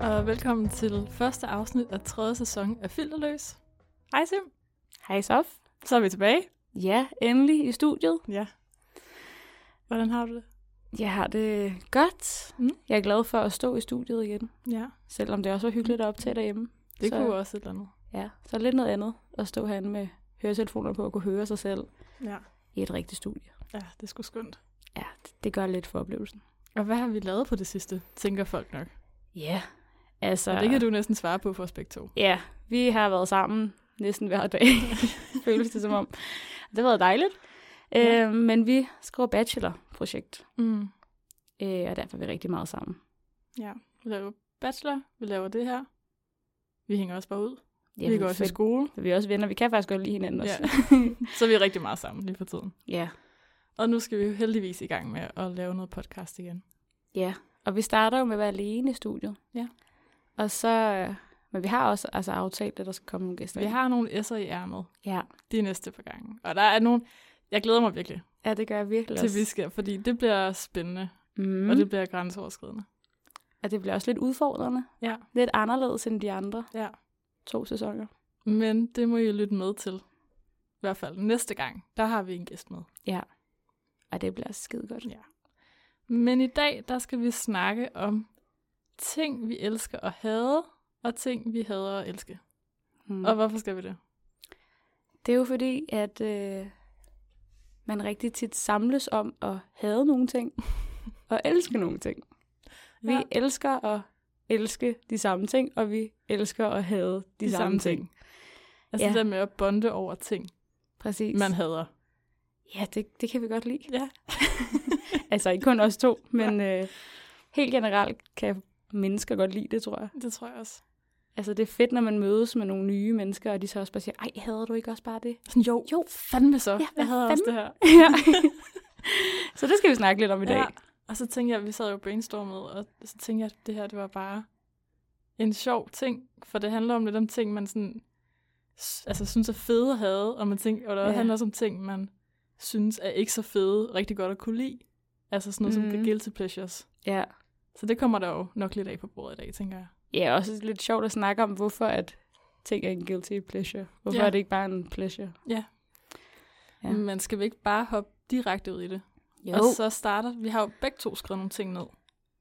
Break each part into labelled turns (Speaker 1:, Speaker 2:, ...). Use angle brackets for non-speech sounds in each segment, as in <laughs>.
Speaker 1: og velkommen til første afsnit af tredje sæson af Filterløs. Hej Sim,
Speaker 2: Hej Sof.
Speaker 1: så er vi tilbage.
Speaker 2: Ja, endelig i studiet.
Speaker 1: Ja. Hvordan har du det?
Speaker 2: Jeg har det godt.
Speaker 1: Mm.
Speaker 2: Mm. Jeg er glad for at stå i studiet igen,
Speaker 1: Ja,
Speaker 2: selvom det også var hyggeligt at optage derhjemme.
Speaker 1: det
Speaker 2: Så-
Speaker 1: så... kunne også et eller andet.
Speaker 2: Ja, så lidt noget andet at stå herinde med høretelefoner på og kunne høre sig selv
Speaker 1: Ja.
Speaker 2: i et rigtigt studie.
Speaker 1: ja, det er sgu skønt.
Speaker 2: Ja, det, det gør lidt for oplevelsen.
Speaker 1: Og hvad har vi lavet på det sidste, tænker folk nok.
Speaker 2: Ja, altså...
Speaker 1: Og det kan du næsten svare på for os begge to.
Speaker 2: Ja, vi har været sammen næsten hver dag, <laughs> føles det som om. Det har været dejligt.
Speaker 1: Ja.
Speaker 2: Øh, men vi skriver bachelorprojekt,
Speaker 1: Mm.
Speaker 2: øh, og derfor er vi rigtig meget sammen.
Speaker 1: Ja, vi laver bachelor, vi laver det her. Vi hænger også bare ud.
Speaker 2: Ja,
Speaker 1: vi går også i skole,
Speaker 2: Vi er også venner. Vi kan faktisk godt lide hinanden også.
Speaker 1: Ja. så vi er rigtig meget sammen lige for tiden.
Speaker 2: <laughs> ja.
Speaker 1: Og nu skal vi jo heldigvis i gang med at lave noget podcast igen.
Speaker 2: Ja, og vi starter jo med at være alene i studiet.
Speaker 1: Ja.
Speaker 2: Og så, øh, men vi har også altså, aftalt, at der skal komme nogle gæster.
Speaker 1: Vi
Speaker 2: ind.
Speaker 1: har nogle S'er i ærmet.
Speaker 2: Ja.
Speaker 1: de næste par gange. Og der er nogle... Jeg glæder mig virkelig
Speaker 2: ja, det gør jeg virkelig
Speaker 1: til,
Speaker 2: også.
Speaker 1: vi skal, fordi det bliver spændende,
Speaker 2: Mm.
Speaker 1: mm. og det bliver grænseoverskridende.
Speaker 2: og det bliver også lidt udfordrende.
Speaker 1: Ja.
Speaker 2: Lidt anderledes end de andre
Speaker 1: Ja.
Speaker 2: to sæsoner.
Speaker 1: Men det må I lytte med til. I hvert fald næste gang, der har vi en gæst med.
Speaker 2: Og det bliver skide godt.
Speaker 1: Ja. Men i dag, der skal vi snakke om ting, vi elsker at have, og ting, vi hader at elske.
Speaker 2: Mm.
Speaker 1: Mm. Og hvorfor skal vi det?
Speaker 2: Det er jo fordi, at øh, man rigtig tit samles om at have nogle
Speaker 1: <laughs>
Speaker 2: ting og elske nogle ting. Vi
Speaker 1: Ja.
Speaker 2: elsker at elske de samme ting, og vi elsker at have de, de samme, samme ting. ting.
Speaker 1: Altså
Speaker 2: Ja.
Speaker 1: det der med at bonde over ting,
Speaker 2: Præcis.
Speaker 1: man
Speaker 2: <laughs>
Speaker 1: hader.
Speaker 2: Ja, det, det kan vi godt lide.
Speaker 1: Ja.
Speaker 2: Altså ikke kun os to, men øh, helt generelt kan mennesker godt lide det, tror jeg.
Speaker 1: Det tror jeg også.
Speaker 2: Altså det er fedt, når man mødes med nogle nye mennesker, og de så også bare siger, ej, hader du ikke også bare
Speaker 1: <laughs>
Speaker 2: det?
Speaker 1: Sådan, jo,
Speaker 2: Jo.
Speaker 1: fandme så.
Speaker 2: Ja,
Speaker 1: jeg
Speaker 2: hvad
Speaker 1: hader også det her.
Speaker 2: ja. <laughs> så det skal vi snakke lidt om i dag.
Speaker 1: Ja. Og så tænkte jeg, vi sad jo og brainstormede, og så tænkte jeg, at det her, det var bare en sjov ting, for det handler om lidt om ting, man sådan, s- altså, synes er fede at have, og, man tænker, og det
Speaker 2: Ja.
Speaker 1: ja. handler også om ting, man synes er ikke så fede, rigtig godt at kunne lide. Altså sådan noget mm. som
Speaker 2: Mhm.
Speaker 1: the guilty pleasures.
Speaker 2: Ja.
Speaker 1: Så det kommer der jo nok lidt af på bordet i dag, tænker jeg.
Speaker 2: ja, også lidt sjovt at snakke om, hvorfor at ting er en guilty pleasure. Hvorfor
Speaker 1: Ja.
Speaker 2: er det ikke bare en pleasure? Ja.
Speaker 1: Ja. Men skal vi ikke bare hoppe direkte ud i det? Og så starter, vi har jo begge to skrevet nogle ting ned.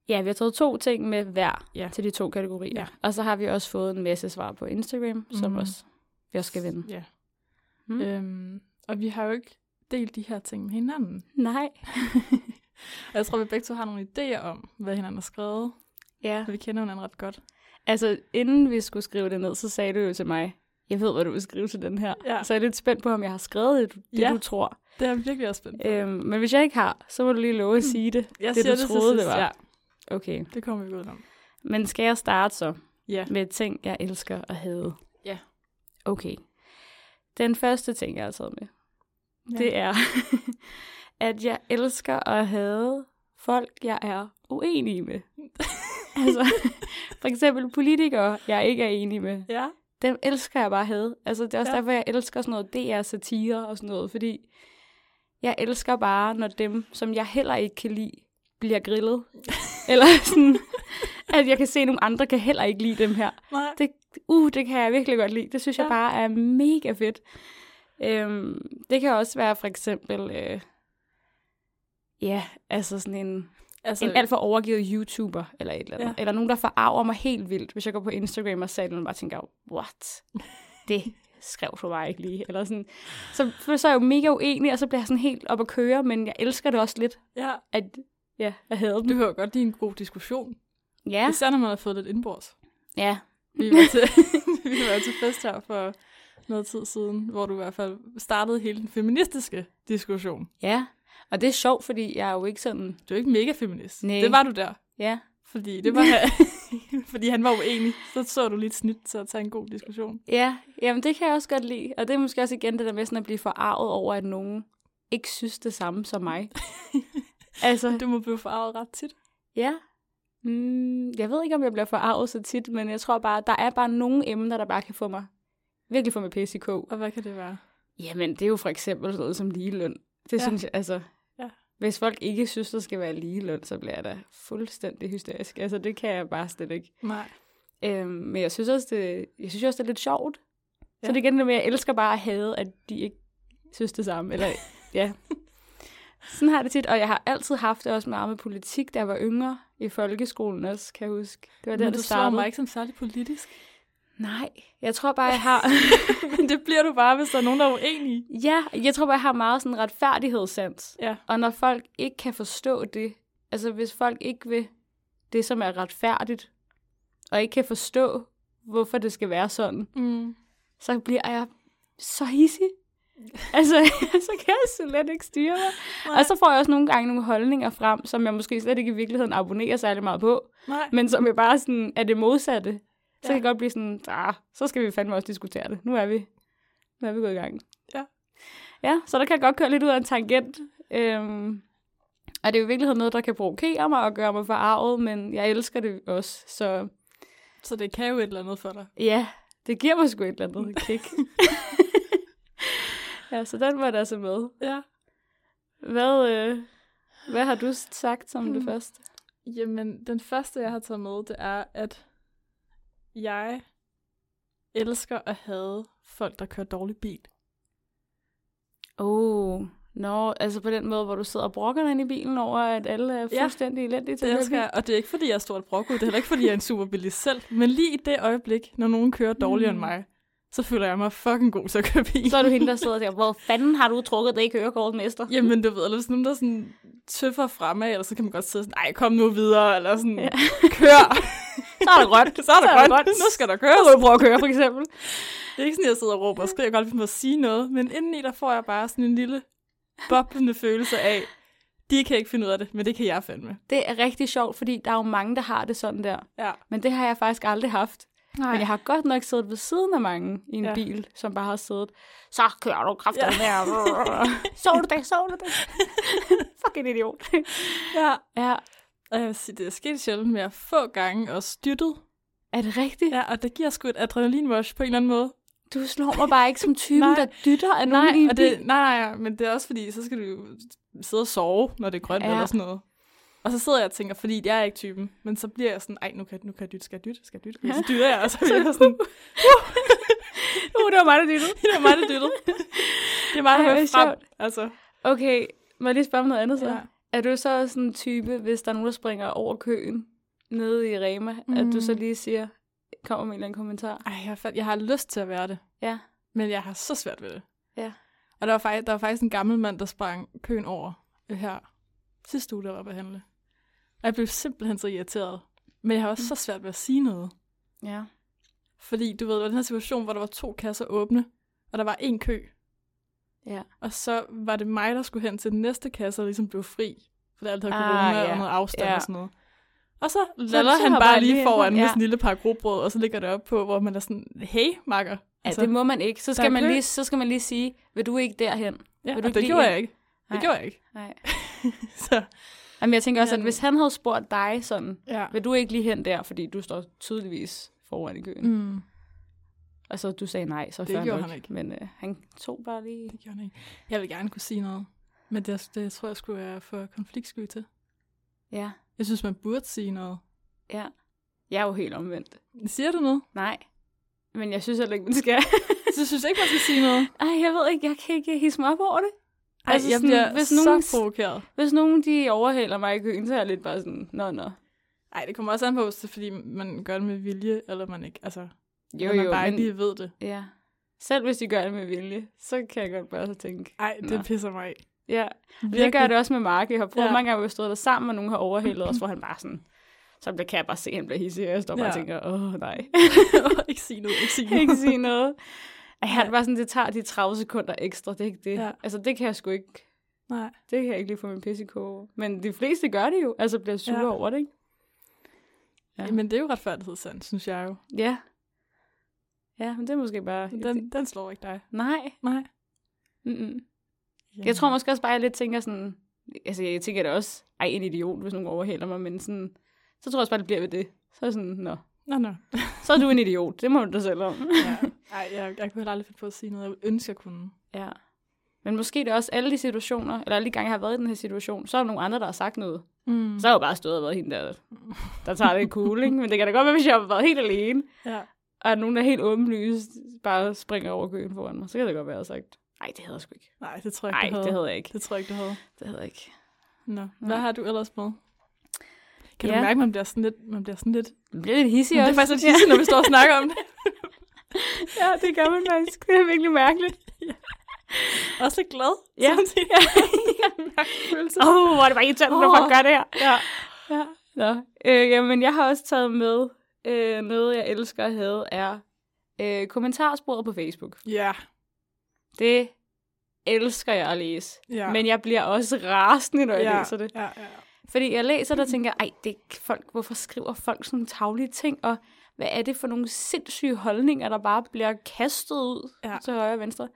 Speaker 2: Ja, vi har taget to ting med hver
Speaker 1: Ja.
Speaker 2: til de to kategorier.
Speaker 1: Ja.
Speaker 2: Og så har vi også fået en masse svar på Instagram, mm. som
Speaker 1: Mhm.
Speaker 2: også, vi også skal vinde.
Speaker 1: Ja.
Speaker 2: Mm.
Speaker 1: Mm. Øhm, og vi har jo ikke delt de her ting med hinanden.
Speaker 2: Nej.
Speaker 1: Og jeg tror, vi begge to har nogle idéer om, hvad hinanden har skrevet.
Speaker 2: Ja.
Speaker 1: Og vi kender hinanden ret godt.
Speaker 2: Altså, inden vi skulle skrive det ned, så sagde du jo til mig, jeg ved, hvad du vil skrive til den her.
Speaker 1: Ja.
Speaker 2: Så jeg er lidt spændt på, om jeg har skrevet det, det
Speaker 1: Ja.
Speaker 2: du tror.
Speaker 1: Det er jeg virkelig også spændt.
Speaker 2: Øhm, men hvis jeg ikke har, så må du lige love at sige det.
Speaker 1: Mm. Jeg
Speaker 2: det, du
Speaker 1: til
Speaker 2: troede,
Speaker 1: sidst.
Speaker 2: det var.
Speaker 1: Ja,
Speaker 2: Okay.
Speaker 1: det kommer vi ikke udenom.
Speaker 2: Men skal jeg starte så
Speaker 1: Ja.
Speaker 2: med ting, jeg elsker at have?
Speaker 1: Ja.
Speaker 2: Okay. Den første ting, jeg har taget med, ja. det er, <laughs> at jeg elsker at have folk, jeg er
Speaker 1: <laughs>
Speaker 2: uenig med. altså, <laughs> for eksempel politikere, jeg ikke er enig med.
Speaker 1: Ja.
Speaker 2: dem elsker jeg bare at have. Altså, det er også ja.
Speaker 1: Ja.
Speaker 2: derfor, jeg elsker sådan noget DR-satire og sådan noget, fordi jeg elsker bare, når dem, som jeg heller ikke kan lide, bliver <laughs> grillet. Eller sådan, at jeg kan se, at nogle andre kan heller ikke lide dem her.
Speaker 1: Nej.
Speaker 2: Det, uh, det kan jeg virkelig godt lide. Det synes ja.
Speaker 1: Ja.
Speaker 2: jeg bare er mega fedt. Øhm, det kan også være for eksempel, øh, ja, altså sådan en,
Speaker 1: Altså,
Speaker 2: en alt for overgivet YouTuber, eller et eller andet.
Speaker 1: Ja.
Speaker 2: Ja. Eller nogen, der forarver mig helt vildt, hvis jeg går på Instagram og sagde, og bare tænker, what? Det skrev du bare ikke lige. Eller sådan. Så, så er jeg jo mega uenig, og så bliver jeg sådan helt op at køre, men jeg elsker det også lidt,
Speaker 1: ja.
Speaker 2: at ja, jeg havde
Speaker 1: Du
Speaker 2: dem.
Speaker 1: hører godt, det er en god diskussion. Ja.
Speaker 2: Ja,
Speaker 1: Især når man har fået lidt indbords.
Speaker 2: ja, <laughs>
Speaker 1: Vi var til, <laughs> vi var til fest her for noget tid siden, hvor du i hvert fald startede hele den feministiske diskussion.
Speaker 2: ja. Og det er sjovt, fordi jeg er jo ikke sådan,
Speaker 1: Du er ikke mega feminist.
Speaker 2: Nej.
Speaker 1: Det var du der.
Speaker 2: ja,
Speaker 1: Fordi, det
Speaker 2: <laughs>
Speaker 1: var, fordi han <laughs> var uenig. Så så du lige et snit til at tage en god diskussion.
Speaker 2: Ja, jamen det kan jeg også godt lide. Og det er måske også igen det der med sådan at blive forarvet over, at nogen ikke synes det samme som <laughs> mig. altså,
Speaker 1: Du må blive forarvet ret tit.
Speaker 2: ja. Mm, jeg ved ikke, om jeg bliver forarvet så tit, men jeg tror bare, der er bare nogle emner, der bare kan få mig, virkelig få mig pisse i kog.
Speaker 1: Og hvad kan det være?
Speaker 2: Jamen, det er jo for eksempel sådan noget som ligeløn. Det
Speaker 1: Ja.
Speaker 2: ja. synes jeg, altså...
Speaker 1: Ja.
Speaker 2: Hvis folk ikke synes, der skal være ligeløn, så bliver jeg da fuldstændig hysterisk. Altså, det kan jeg bare slet ikke.
Speaker 1: Nej.
Speaker 2: Øhm, men jeg synes, også, det, jeg synes også, det er lidt sjovt. Ja. Så det er igen det med, at jeg elsker bare at have, at de ikke synes det
Speaker 1: <laughs>
Speaker 2: samme. Eller, ja. Sådan har jeg det tit, og jeg har altid haft det også meget med politik, da jeg var yngre i folkeskolen også, kan jeg huske. Det var der,
Speaker 1: Men
Speaker 2: det
Speaker 1: du slår
Speaker 2: startede.
Speaker 1: mig ikke som særlig politisk.
Speaker 2: Nej, jeg tror bare, jeg
Speaker 1: <laughs>
Speaker 2: har... <laughs>
Speaker 1: Men det bliver du bare, hvis der er nogen, der er uenige.
Speaker 2: ja, jeg tror bare, jeg har meget sådan retfærdighedssans.
Speaker 1: Ja.
Speaker 2: Og når folk ikke kan forstå det, altså hvis folk ikke vil det, som er retfærdigt, og ikke kan forstå, hvorfor det skal være sådan,
Speaker 1: Mm.
Speaker 2: så bliver jeg så hissig. Altså, <laughs> så kan jeg slet ikke styre mig.
Speaker 1: Nej.
Speaker 2: Og så får jeg også nogle gange nogle holdninger frem, som jeg måske slet ikke i virkeligheden abonnerer særlig meget på,
Speaker 1: Nej.
Speaker 2: men som jeg bare sådan er det modsatte.
Speaker 1: Ja.
Speaker 2: Så kan jeg godt blive sådan, ah, så skal vi fandme også diskutere det. Nu er vi, nu er vi gået i gang.
Speaker 1: Ja.
Speaker 2: Ja, så der kan jeg godt køre lidt ud af en tangent. Øhm, og det er jo i virkeligheden noget, der kan provokere mig og gøre mig forarvet, men jeg elsker det også, så
Speaker 1: Så det kan jo et eller andet for dig.
Speaker 2: Ja, det giver mig sgu et eller andet
Speaker 1: <laughs>
Speaker 2: kick. ja, så den var der så med.
Speaker 1: Ja.
Speaker 2: Hvad, øh, hvad har du sagt som det
Speaker 1: Hmm.
Speaker 2: første?
Speaker 1: Jamen, den første, jeg har taget med, det er, at jeg elsker at have folk, der kører dårlig bil.
Speaker 2: Oh, nå, altså på den måde, hvor du sidder og brokker dig ind i bilen over, at alle er
Speaker 1: Ja,
Speaker 2: fuldstændig ja, elendige til
Speaker 1: Det
Speaker 2: at køre
Speaker 1: elsker jeg, og det er ikke, fordi jeg er stort brokud, det er heller ikke, fordi jeg er en superbilist selv, men lige i det øjeblik, når nogen kører dårligere mm. end
Speaker 2: Mm.
Speaker 1: mig, så føler jeg mig fucking god til at køre bil.
Speaker 2: bil. Så er du hende, der sidder og siger, hvor fanden har du trukket det i kørekort, mester?
Speaker 1: Jamen, du ved, eller hvis nogen, der sådan tøffer fremad, eller så kan man godt sidde sådan, nej, kom nu videre, eller sådan, ja.
Speaker 2: Ja.
Speaker 1: <laughs> kør.
Speaker 2: <laughs> Så er det grønt.
Speaker 1: så er der godt. Nu skal der køres.
Speaker 2: du prøve at køre, for eksempel.
Speaker 1: Det er ikke sådan, jeg sidder og råber og skriger godt, at vi må sige noget, men indeni der får jeg bare sådan en lille boblende følelse af, de kan ikke finde ud af det, men det kan jeg fandme.
Speaker 2: Det er rigtig sjovt, fordi der er jo mange, der har det sådan der.
Speaker 1: Ja.
Speaker 2: Men det har jeg faktisk aldrig haft. Nej. Men jeg har godt nok siddet ved siden af mange i en
Speaker 1: Ja.
Speaker 2: ja. bil, som bare har siddet, så kører du kraften ja. <laughs> så du det, så du <laughs> det. Fucking idiot.
Speaker 1: ja.
Speaker 2: ja,
Speaker 1: Og jeg vil sige, det er sket sjældent, men jeg er få gange og styrtet.
Speaker 2: er det rigtigt? Ja.
Speaker 1: Ja, og det giver sgu et adrenalinrush på en eller anden måde.
Speaker 2: Du slår mig bare ikke
Speaker 1: <laughs>
Speaker 2: som typen,
Speaker 1: Nej.
Speaker 2: der dytter af nogen i en
Speaker 1: og
Speaker 2: bil.
Speaker 1: <laughs> det, nej, nej, men det er også fordi, så skal du jo sidde og sove, når det er grønt ja.
Speaker 2: Ja.
Speaker 1: eller sådan noget. Og så sidder jeg og tænker, fordi jeg er ikke typen, men så bliver jeg sådan, ej, nu kan, nu kan jeg dytte, skal jeg dytte, skal jeg dytte, og så dytter jeg, og så bliver jeg <laughs> sådan,
Speaker 2: Uh, det var mig, der dyttede.
Speaker 1: det er mig, der dyttede. Det er mig, der
Speaker 2: Ej,
Speaker 1: hører
Speaker 2: hvor
Speaker 1: frem.
Speaker 2: sjovt.
Speaker 1: Altså,
Speaker 2: Okay, må jeg lige spørge om noget andet så?
Speaker 1: Ja.
Speaker 2: Ja. Er du så også sådan en type, hvis der er nogen, der springer over køen nede i Rema, mm. at
Speaker 1: Mm.
Speaker 2: du så lige siger, kommer med en eller anden kommentar?
Speaker 1: Ej, jeg, fand, jeg har lyst til at være det,
Speaker 2: Ja.
Speaker 1: men jeg har så svært ved det.
Speaker 2: Ja.
Speaker 1: Og der var, faktisk, der var faktisk en gammel mand, der sprang køen over øh, her sidste uge, der var på handle. Og jeg blev simpelthen så irriteret. Men jeg har også så svært ved at sige noget.
Speaker 2: Ja.
Speaker 1: Fordi du ved, det var den her situation, hvor der var to kasser åbne, og der var en kø.
Speaker 2: Ja.
Speaker 1: Og så var det mig, der skulle hen til den næste kasse, og ligesom blev fri. For det alt havde
Speaker 2: Ah,
Speaker 1: corona
Speaker 2: ja.
Speaker 1: og noget afstand
Speaker 2: Ja.
Speaker 1: og sådan noget. Og så lader
Speaker 2: så
Speaker 1: han
Speaker 2: hopper
Speaker 1: bare
Speaker 2: han
Speaker 1: lige
Speaker 2: lige
Speaker 1: foran
Speaker 2: ind.
Speaker 1: med
Speaker 2: Ja.
Speaker 1: sådan en lille pakke rugbrød, og så ligger det op på, hvor man er sådan, hey, makker.
Speaker 2: Ja, det må man ikke. Så
Speaker 1: Altså, Der er
Speaker 2: skal man,
Speaker 1: kø.
Speaker 2: lige, så skal man lige sige, vil du ikke derhen?
Speaker 1: ja,
Speaker 2: vil
Speaker 1: og
Speaker 2: du ikke
Speaker 1: det
Speaker 2: lige
Speaker 1: gjorde
Speaker 2: ind?
Speaker 1: jeg ikke. Det
Speaker 2: Nej.
Speaker 1: gjorde jeg ikke.
Speaker 2: Nej.
Speaker 1: <laughs> Så,
Speaker 2: Jamen, jeg tænker også, at
Speaker 1: Men-
Speaker 2: hvis han havde spurgt dig sådan,
Speaker 1: ja.
Speaker 2: vil du ikke lige hen der, fordi du står tydeligvis foran i køen, mm.
Speaker 1: Mm,
Speaker 2: og så du sagde nej, så
Speaker 1: Det
Speaker 2: fair
Speaker 1: gjorde
Speaker 2: nok.
Speaker 1: han ikke.
Speaker 2: Men øh, han tog bare lige...
Speaker 1: det gjorde jeg ikke. Jeg vil gerne kunne sige noget, men det, det tror jeg skulle være for konfliktsky til.
Speaker 2: Ja,
Speaker 1: Jeg synes, man burde sige noget.
Speaker 2: ja. Jeg er jo helt omvendt.
Speaker 1: Siger du noget?
Speaker 2: Nej. Men jeg synes heller ikke, man skal. <laughs>
Speaker 1: Så synes jeg ikke, man skal sige noget.
Speaker 2: Ej, jeg ved ikke, jeg kan ikke hisse mig op over det.
Speaker 1: Ej, altså, jeg sådan, bliver hvis nogen... så provokeret.
Speaker 2: hvis nogen de overhaler mig i køen, så er jeg lidt bare sådan, nå, nå.
Speaker 1: Ej, det kommer også an på, hvis det er, fordi man gør det med vilje, eller man ikke, altså,
Speaker 2: Jo,
Speaker 1: eller man
Speaker 2: jo,
Speaker 1: bare
Speaker 2: men...
Speaker 1: ikke lige ved det.
Speaker 2: Ja. Selv hvis de gør det med vilje, så kan jeg godt bare så tænke,
Speaker 1: Ej, det
Speaker 2: Nå.
Speaker 1: pisser mig af.
Speaker 2: ja,
Speaker 1: Virkelig.
Speaker 2: Jeg
Speaker 1: <laughs>
Speaker 2: gør det også med Mark. Jeg har prøvet
Speaker 1: Ja.
Speaker 2: ja. mange gange, hvor vi har stået der sammen, og nogen har overhældet os, hvor han bare sådan... Så bliver- kan jeg bare se, at han bliver hissig, og jeg står bare
Speaker 1: Ja.
Speaker 2: ja. og tænker, åh nej,
Speaker 1: ikke sige noget, <laughs> ikke sige
Speaker 2: <laughs> jeg kan
Speaker 1: noget.
Speaker 2: ikke sige noget. Ej, Han var sådan, det tager de 30 sekunder ekstra, det er ikke det.
Speaker 1: Ja.
Speaker 2: Ja. Altså, det kan jeg sgu ikke,
Speaker 1: Nej.
Speaker 2: det kan jeg ikke lige få min pisse i koge over. Men de fleste gør det jo, altså bliver sure
Speaker 1: Ja.
Speaker 2: ja. over det, ikke?
Speaker 1: Ja.
Speaker 2: Ja.
Speaker 1: Men det er jo retfærdighedssand, synes jeg jo.
Speaker 2: Ja. Ja, men det er måske bare...
Speaker 1: Den, den slår ikke dig.
Speaker 2: Nej.
Speaker 1: Nej.
Speaker 2: Mm-mm. Jeg tror måske også bare, at jeg lidt tænker sådan... Altså, jeg tænker da også, ej, en idiot, hvis nogen overhælder mig, men sådan... Så tror jeg også bare, det bliver ved det. Så er jeg sådan, nå,
Speaker 1: Nå, nå.
Speaker 2: Så er du en idiot. Det må du da selv om.
Speaker 1: <laughs> Ja. Ej, jeg, jeg kunne heller aldrig finde på at sige noget, jeg ville ønske, jeg kunne.
Speaker 2: Ja. Men måske det er også alle de situationer, eller alle de gange, jeg har været i den her situation, så er der nogle andre, der har sagt noget.
Speaker 1: Mm.
Speaker 2: Så har jeg jo bare stået og været hende der, der tager det cool, ikke? Men det kan da godt være, hvis jeg har været helt alene,
Speaker 1: Ja.
Speaker 2: og at nogen, der helt åbenlyst bare springer over køen foran mig, så kan det godt være, at jeg har sagt, nej, det havde jeg sgu ikke.
Speaker 1: Nej, det tror jeg
Speaker 2: Nej,
Speaker 1: ikke,
Speaker 2: det havde jeg ikke.
Speaker 1: det tror jeg ikke, du havde.
Speaker 2: Det havde jeg ikke.
Speaker 1: Nå. Hvad har du ellers med? Kan
Speaker 2: Ja.
Speaker 1: du mærke, at man bliver sådan lidt... Man bliver sådan lidt
Speaker 2: Det bliver lidt hissig
Speaker 1: det er
Speaker 2: også.
Speaker 1: faktisk lidt hissigt, når vi står og snakker om det.
Speaker 2: <laughs> Ja, det gør man faktisk. Det er virkelig mærkeligt.
Speaker 1: Også lidt glad.
Speaker 2: Ja.
Speaker 1: samtidig.
Speaker 2: <laughs>
Speaker 1: <laughs>
Speaker 2: Åh, oh, hvor er det bare irriterende, når
Speaker 1: Åh.
Speaker 2: folk gør det her.
Speaker 1: ja.
Speaker 2: Ja. Nå. Øh, jamen, jeg har også taget med øh, noget, jeg elsker at have, er øh, kommentarsporet på Facebook.
Speaker 1: Ja.
Speaker 2: Det elsker jeg at læse.
Speaker 1: Ja.
Speaker 2: Men jeg bliver også rasende, når jeg
Speaker 1: ja.
Speaker 2: læser det.
Speaker 1: Ja, ja, ja.
Speaker 2: Fordi jeg læser det og tænker, ej, det er folk, hvorfor skriver folk sådan nogle taglige ting, og hvad er det for nogle sindssyge holdninger, der bare bliver kastet ud
Speaker 1: Ja.
Speaker 2: ja. til højre og venstre.